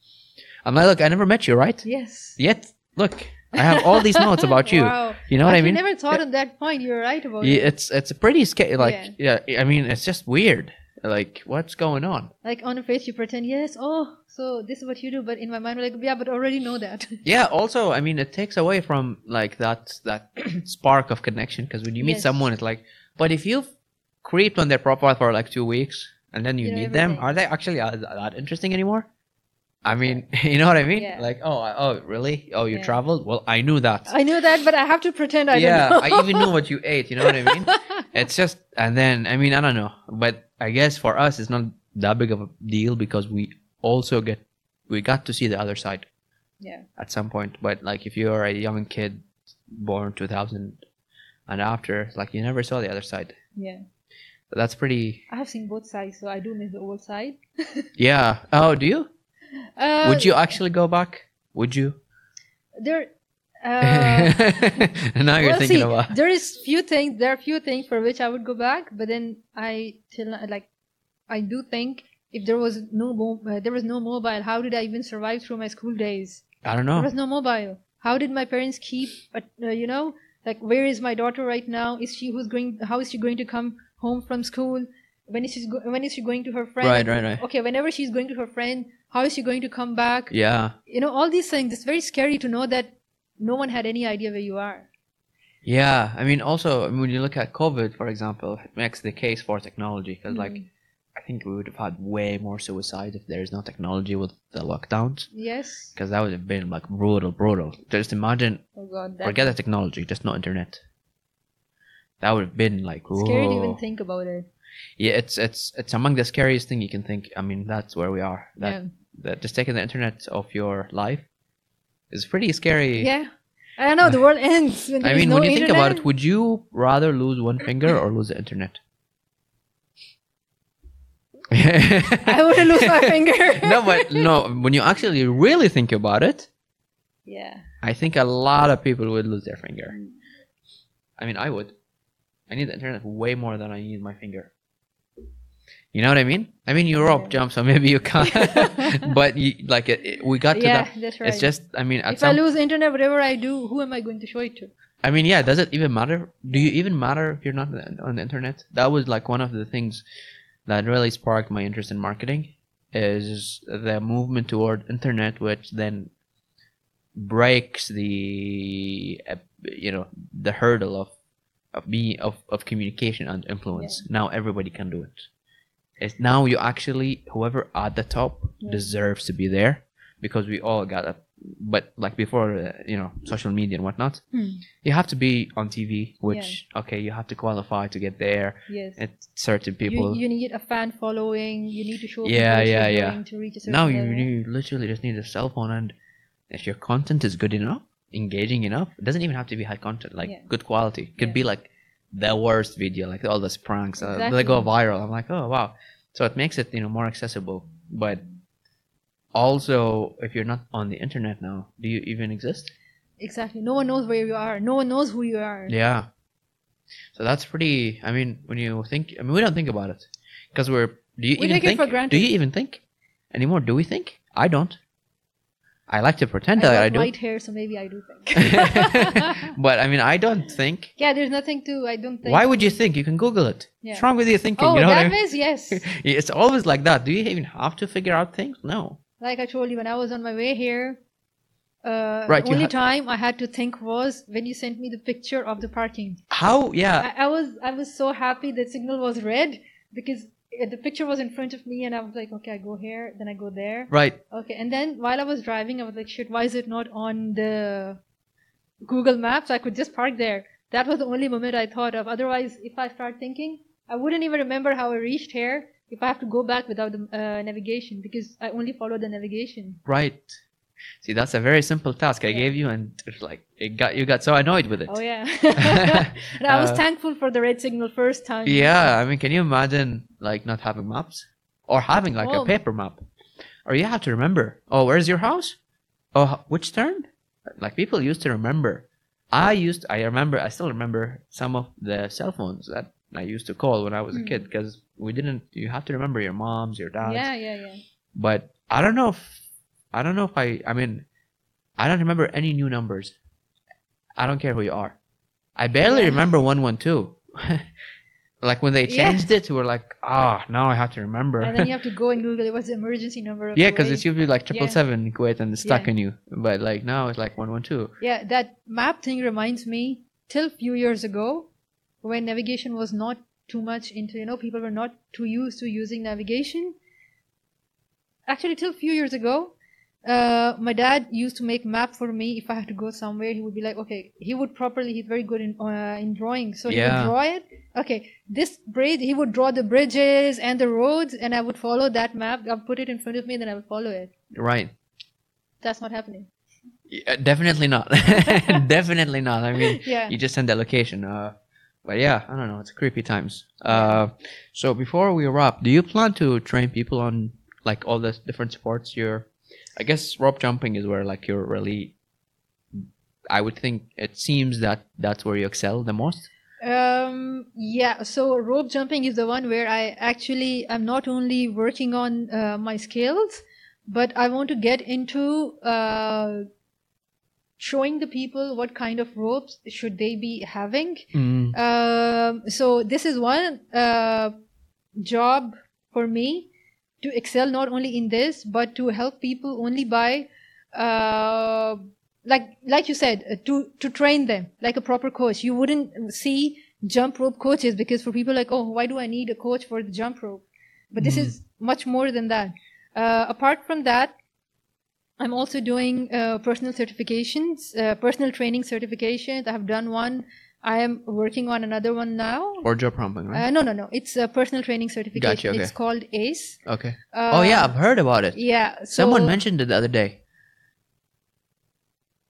[SPEAKER 2] I'm like, look, I never met you, right?
[SPEAKER 1] Yes.
[SPEAKER 2] Yet, look, I have all these notes about you.
[SPEAKER 1] Wow.
[SPEAKER 2] You know what I
[SPEAKER 1] Actually,
[SPEAKER 2] mean?
[SPEAKER 1] never thought of that point. You're right about
[SPEAKER 2] Yeah,
[SPEAKER 1] it.
[SPEAKER 2] it's it's a pretty scary. Like, yeah. I mean, it's just weird. Like, what's going on?
[SPEAKER 1] Like on a face, you pretend yes. Oh, so this is what you do. But in my mind, I'm like yeah, but already know that.
[SPEAKER 2] Yeah. Also, I mean, it takes away from like that that spark of connection because when you meet
[SPEAKER 1] Yes.
[SPEAKER 2] someone, it's like, but if you've creeped on their profile for like two weeks and then you,
[SPEAKER 1] You know
[SPEAKER 2] need them,
[SPEAKER 1] everything.
[SPEAKER 2] are they actually uh, that interesting anymore? I mean, you know what I mean?
[SPEAKER 1] Yeah.
[SPEAKER 2] Like, oh, I- oh, really? Oh, you
[SPEAKER 1] Yeah.
[SPEAKER 2] traveled? Well, I knew that.
[SPEAKER 1] I know that, but I have to pretend I don't
[SPEAKER 2] yeah,
[SPEAKER 1] know.
[SPEAKER 2] I even knew what you ate. You know what I mean? it's just, and then I mean, I don't know, but I guess for us, it's not that big of a deal because we also get we got to see the other side
[SPEAKER 1] yeah.
[SPEAKER 2] at some point. But like, if you're a young kid born 2000 and after, like you never saw the other side.
[SPEAKER 1] Yeah.
[SPEAKER 2] So that's pretty.
[SPEAKER 1] I have seen both sides, so I do miss the old side.
[SPEAKER 2] Yeah. Oh, do you?
[SPEAKER 1] Uh,
[SPEAKER 2] Would you actually go back? Would you?
[SPEAKER 1] There. Uh,
[SPEAKER 2] now you're
[SPEAKER 1] well,
[SPEAKER 2] thinking
[SPEAKER 1] see,
[SPEAKER 2] about.
[SPEAKER 1] there is few things. There are few things for which I would go back, but then I till now- like I do think if there was no mo- uh, there was no mobile, how did I even survive through my school days?
[SPEAKER 2] I don't
[SPEAKER 1] There
[SPEAKER 2] know.
[SPEAKER 1] was no mobile. How did my parents keep, uh, uh, you know, like where is my daughter right now? Is she who's going? How is she going to come home from school? When is she? Go- when is she going to her friend?
[SPEAKER 2] Right, right, right.
[SPEAKER 1] Okay, whenever she's going to her friend, how is she going to come back?
[SPEAKER 2] Yeah.
[SPEAKER 1] You know, all these things. It's very scary to know that no one had any idea where you are.
[SPEAKER 2] Yeah, I mean, also I mean, when you look at COVID, for example, it makes the case for technology because, like,
[SPEAKER 1] Mhm.
[SPEAKER 2] I think we would have had way more suicide if there is no technology with the lockdowns
[SPEAKER 1] yes.
[SPEAKER 2] because that would have been like brutal, brutal. Just imagine,
[SPEAKER 1] Oh God, that's
[SPEAKER 2] forget the technology, just no internet. That would have been like
[SPEAKER 1] scary to even
[SPEAKER 2] whoa.
[SPEAKER 1] think about it.
[SPEAKER 2] Yeah, it's it's it's among the scariest thing you can think. I mean, that's where we are. That,
[SPEAKER 1] yeah.
[SPEAKER 2] that just taking the internet of your life is pretty scary.
[SPEAKER 1] yeah. I don't know. The world ends when
[SPEAKER 2] I
[SPEAKER 1] there is
[SPEAKER 2] mean,
[SPEAKER 1] no
[SPEAKER 2] when you think about
[SPEAKER 1] internet.
[SPEAKER 2] it, would you rather lose one finger or lose the internet?
[SPEAKER 1] I wouldn't lose my finger.
[SPEAKER 2] no, but no. When you actually really think about it,
[SPEAKER 1] yeah.
[SPEAKER 2] I think a lot of people would lose their finger. I mean, I would. I need the internet way more than I need my finger. You know what I mean? I mean, you're
[SPEAKER 1] Yeah.
[SPEAKER 2] up jump, so maybe you can't. but you, like, it, it- we got to
[SPEAKER 1] Yeah,
[SPEAKER 2] that.
[SPEAKER 1] that's right.
[SPEAKER 2] It's just, I mean, at
[SPEAKER 1] if I
[SPEAKER 2] some
[SPEAKER 1] lose internet, whatever I do, who am I going to show it to?
[SPEAKER 2] I mean, yeah, does it even matter? Do you even matter if you're not on the internet? That was like one of the things that really sparked my interest in marketing is the movement toward internet, which then breaks the uh, you know the hurdle of of being of, of communication and influence. Now everybody can do it. It's now you actually whoever at the top
[SPEAKER 1] Yeah.
[SPEAKER 2] deserves to be there because we all got up. But like before, uh, you know, social media and whatnot,
[SPEAKER 1] Hmm.
[SPEAKER 2] you have to be on TV, which okay, you have to qualify to get there.
[SPEAKER 1] Yes.
[SPEAKER 2] It's certain people.
[SPEAKER 1] You, you need a fan following. You need to show.
[SPEAKER 2] Yeah,
[SPEAKER 1] people
[SPEAKER 2] yeah,
[SPEAKER 1] you're
[SPEAKER 2] yeah.
[SPEAKER 1] going To reach a certain
[SPEAKER 2] now you,
[SPEAKER 1] level.
[SPEAKER 2] you literally just need a cell phone, and if your content is good enough, engaging enough, it doesn't even have to be high content, like
[SPEAKER 1] Yeah.
[SPEAKER 2] good quality. Could
[SPEAKER 1] Yeah.
[SPEAKER 2] be like the worst video, like all those pranks uh,
[SPEAKER 1] Exactly.
[SPEAKER 2] they go viral. I'm like, oh wow. So it makes it you know more accessible, but also if you're not on the internet now, do you even exist?
[SPEAKER 1] Exactly. No one knows where you are. No one knows who you are.
[SPEAKER 2] Yeah. So that's pretty. I mean, when you think, I mean, we don't think about it because we're. Do you
[SPEAKER 1] We
[SPEAKER 2] even
[SPEAKER 1] take it
[SPEAKER 2] think?
[SPEAKER 1] for granted.
[SPEAKER 2] Do you even think anymore? Do we think? I don't. I like to pretend that
[SPEAKER 1] got
[SPEAKER 2] I do,
[SPEAKER 1] white hair, so maybe I do think.
[SPEAKER 2] but I mean, I don't think.
[SPEAKER 1] yeah, there's nothing to. I don't think.
[SPEAKER 2] Why would you think? You can Google it.
[SPEAKER 1] Yeah.
[SPEAKER 2] What's wrong with you thinking?
[SPEAKER 1] Oh,
[SPEAKER 2] you know what I
[SPEAKER 1] that
[SPEAKER 2] mean?
[SPEAKER 1] is yes.
[SPEAKER 2] It's always like that. Do you even have to figure out things? No.
[SPEAKER 1] like I told you, when I was on my way here, uh,
[SPEAKER 2] Right,
[SPEAKER 1] the
[SPEAKER 2] you
[SPEAKER 1] only
[SPEAKER 2] had-
[SPEAKER 1] time I had to think was when you sent me the picture of the parking.
[SPEAKER 2] How? Yeah.
[SPEAKER 1] I, I was I was so happy the signal was red because uh, the picture was in front of me, and I was like, okay, I go here, then I go there.
[SPEAKER 2] Right.
[SPEAKER 1] Okay, and then while I was driving, I was like, shit, why is it not on the Google Maps? I could just park there. That was the only moment I thought of. Otherwise, if I start thinking, I wouldn't even remember how I reached here if I have to go back without the uh, navigation because I only follow the navigation.
[SPEAKER 2] Right. See, that's a very simple task I
[SPEAKER 1] Yeah.
[SPEAKER 2] gave you, and it's like it got you got so annoyed with it.
[SPEAKER 1] Oh, yeah. and I was
[SPEAKER 2] Uh,
[SPEAKER 1] thankful for the red signal first time.
[SPEAKER 2] Yeah, I mean, can you imagine like not having maps or having like
[SPEAKER 1] Oh.
[SPEAKER 2] a paper map, or you have to remember? Oh, where's your house? Oh, h- which turn? Like people used to remember. I used, I remember, I still remember some of the cell phones that I used to call when I was a
[SPEAKER 1] Hmm.
[SPEAKER 2] kid because we didn't. You have to remember your moms, your dads.
[SPEAKER 1] Yeah, yeah, yeah.
[SPEAKER 2] But I don't know if, I don't know if I. I mean, I don't remember any new numbers. I don't care who you are. I barely
[SPEAKER 1] Yeah.
[SPEAKER 2] remember one one two. Like when they
[SPEAKER 1] Yeah.
[SPEAKER 2] changed it, we were like, ah, now I have to remember.
[SPEAKER 1] And then you have to go and Google it was the emergency number. Of
[SPEAKER 2] yeah,
[SPEAKER 1] the
[SPEAKER 2] because
[SPEAKER 1] way.
[SPEAKER 2] it's usually like triple seven in Kuwait and it's stuck
[SPEAKER 1] Yeah.
[SPEAKER 2] in you. But like now it's like one one two.
[SPEAKER 1] Yeah, that map thing reminds me till few years ago when navigation was not too much into, you know, people were not too used to using navigation. Actually, till few years ago, uh, my dad used to make map for me if I had to go somewhere. He would be like, okay, he would properly. He's very good in uh, in drawing, so he
[SPEAKER 2] Yeah.
[SPEAKER 1] would draw it. Okay, this bridge, he would draw the bridges and the roads, and I would follow that map. I'll put it in front of me, then I would follow it.
[SPEAKER 2] Right.
[SPEAKER 1] That's not happening.
[SPEAKER 2] Yeah, definitely not. definitely not. I mean,
[SPEAKER 1] Yeah.
[SPEAKER 2] you just send that location. Uh, but yeah, I don't know. It's creepy times. Uh, so before we wrap, do you plan to train people on like all the different sports? You're, I guess rope jumping is where like you're really. I would think it seems that that's where you excel the most.
[SPEAKER 1] Um, yeah, so rope jumping is the one where I actually I'm not only working on uh, my skills, but I want to get into uh, showing the people what kind of ropes should they be having.
[SPEAKER 2] Mm.
[SPEAKER 1] Um, so this is one uh, job for me to excel not only in this but to help people only by uh, like like you said uh, to to train them like a proper coach you wouldn't see jump rope coaches because for people like oh why do i need a coach for the jump rope but this
[SPEAKER 2] Mm.
[SPEAKER 1] is much more than that uh, apart from that i'm also doing uh, personal certifications uh, personal training certifications i have done one i am working on another one now
[SPEAKER 2] Or job prompting, right?
[SPEAKER 1] uh, no no no it's a personal training certification
[SPEAKER 2] okay.
[SPEAKER 1] it's called ace
[SPEAKER 2] okay.
[SPEAKER 1] uh,
[SPEAKER 2] oh yeah, I've heard about it.
[SPEAKER 1] yeah so
[SPEAKER 2] Someone mentioned it the other day.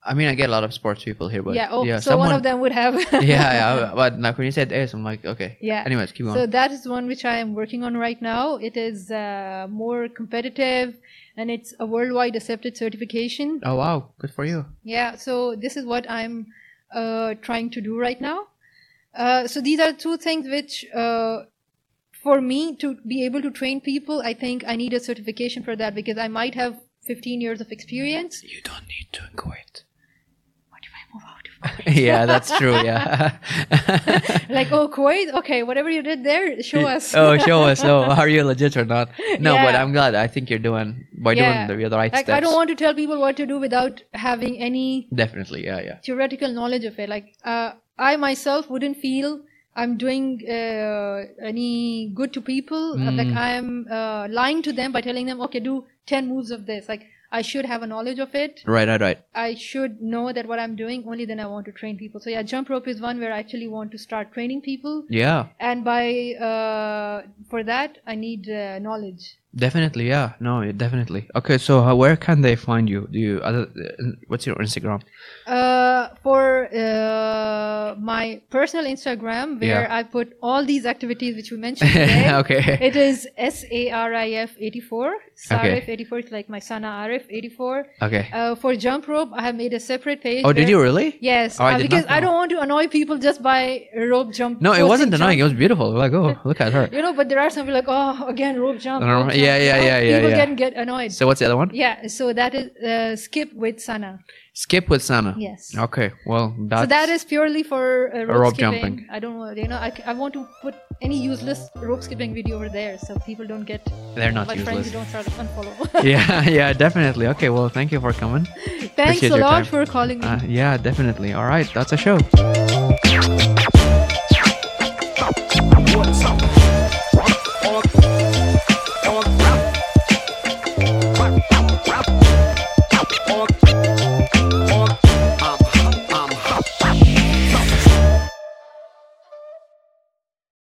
[SPEAKER 2] I mean, I get a lot of sports people here, but
[SPEAKER 1] yeah oh so one of them would have
[SPEAKER 2] yeah, yeah, but like when you said S, I'm like, okay.
[SPEAKER 1] Yeah.
[SPEAKER 2] Anyways, keep going.
[SPEAKER 1] So that is one which I am working on right now. It is uh, more competitive and it's a worldwide accepted certification.
[SPEAKER 2] oh wow, good for you.
[SPEAKER 1] Yeah, so this is what I'm uh, trying to do right now. Uh, so these are two things which, uh, for me to be able to train people, I think I need a certification for that because I might have 15 years of experience.
[SPEAKER 2] You don't need to in Kuwait.
[SPEAKER 1] What if I move out of
[SPEAKER 2] yeah, that's true. Yeah.
[SPEAKER 1] like, oh, Kuwait, okay, whatever you did there, show us.
[SPEAKER 2] oh, show us. Oh, are you legit or not? No, but
[SPEAKER 1] Yeah.
[SPEAKER 2] I'm glad. I think you're doing by
[SPEAKER 1] Yeah.
[SPEAKER 2] doing the, the right
[SPEAKER 1] like,
[SPEAKER 2] steps.
[SPEAKER 1] I don't want to tell people what to do without having any
[SPEAKER 2] Definitely. Yeah, yeah.
[SPEAKER 1] theoretical knowledge of it. Like, uh, I myself wouldn't feel I'm doing uh, any good to people. Uh, Like,
[SPEAKER 2] Mm.
[SPEAKER 1] I'm uh, lying to them by telling them, okay, do 10 moves of this. Like, I should have a knowledge of it.
[SPEAKER 2] Right, right, right.
[SPEAKER 1] I should know that what I'm doing, only then I want to train people. So, yeah, jump rope is one where I actually want to start training people.
[SPEAKER 2] Yeah,
[SPEAKER 1] And by uh, for that, I need uh, knowledge.
[SPEAKER 2] definitely. Yeah, no, yeah, definitely. Okay, so uh, where can they find you? Do you other? Uh, what's your Instagram?
[SPEAKER 1] Uh, for uh, my personal Instagram, where
[SPEAKER 2] Yeah.
[SPEAKER 1] I put all these activities which we mentioned today.
[SPEAKER 2] okay.
[SPEAKER 1] It is S A R I F 84. Sarif 84 is like my Sana Arif 84.
[SPEAKER 2] Okay.
[SPEAKER 1] Uh, for jump rope, I have made a separate page.
[SPEAKER 2] Oh, did
[SPEAKER 1] where-
[SPEAKER 2] you really?
[SPEAKER 1] Yes,
[SPEAKER 2] Oh, I
[SPEAKER 1] uh,
[SPEAKER 2] did not
[SPEAKER 1] because I
[SPEAKER 2] know.
[SPEAKER 1] don't want to annoy people just by rope jump.
[SPEAKER 2] No, it
[SPEAKER 1] posting
[SPEAKER 2] wasn't
[SPEAKER 1] jump.
[SPEAKER 2] annoying. It was beautiful. Like, oh, look at her.
[SPEAKER 1] You know, but there are some people like, oh, again, rope jump.
[SPEAKER 2] No, no,
[SPEAKER 1] rope
[SPEAKER 2] no. Yeah,
[SPEAKER 1] jump."
[SPEAKER 2] yeah, yeah, yeah,
[SPEAKER 1] People
[SPEAKER 2] yeah.
[SPEAKER 1] can get annoyed.
[SPEAKER 2] So what's the other one?
[SPEAKER 1] yeah, so that is uh, skip with Sana.
[SPEAKER 2] Skip with Sana.
[SPEAKER 1] Yes.
[SPEAKER 2] Okay. Well, that's
[SPEAKER 1] so that is purely for uh, rope,
[SPEAKER 2] rope
[SPEAKER 1] skipping.
[SPEAKER 2] jumping.
[SPEAKER 1] I don't want, you know, I, c- I want to put any useless rope skipping video over there so people don't get,
[SPEAKER 2] they're not
[SPEAKER 1] my friends
[SPEAKER 2] useless.
[SPEAKER 1] don't start unfollow.
[SPEAKER 2] yeah, yeah, definitely. Okay. Well, thank you for coming.
[SPEAKER 1] Thanks
[SPEAKER 2] Appreciate
[SPEAKER 1] a
[SPEAKER 2] your
[SPEAKER 1] lot
[SPEAKER 2] time.
[SPEAKER 1] for calling me.
[SPEAKER 2] Uh, yeah, definitely. All right. That's a show.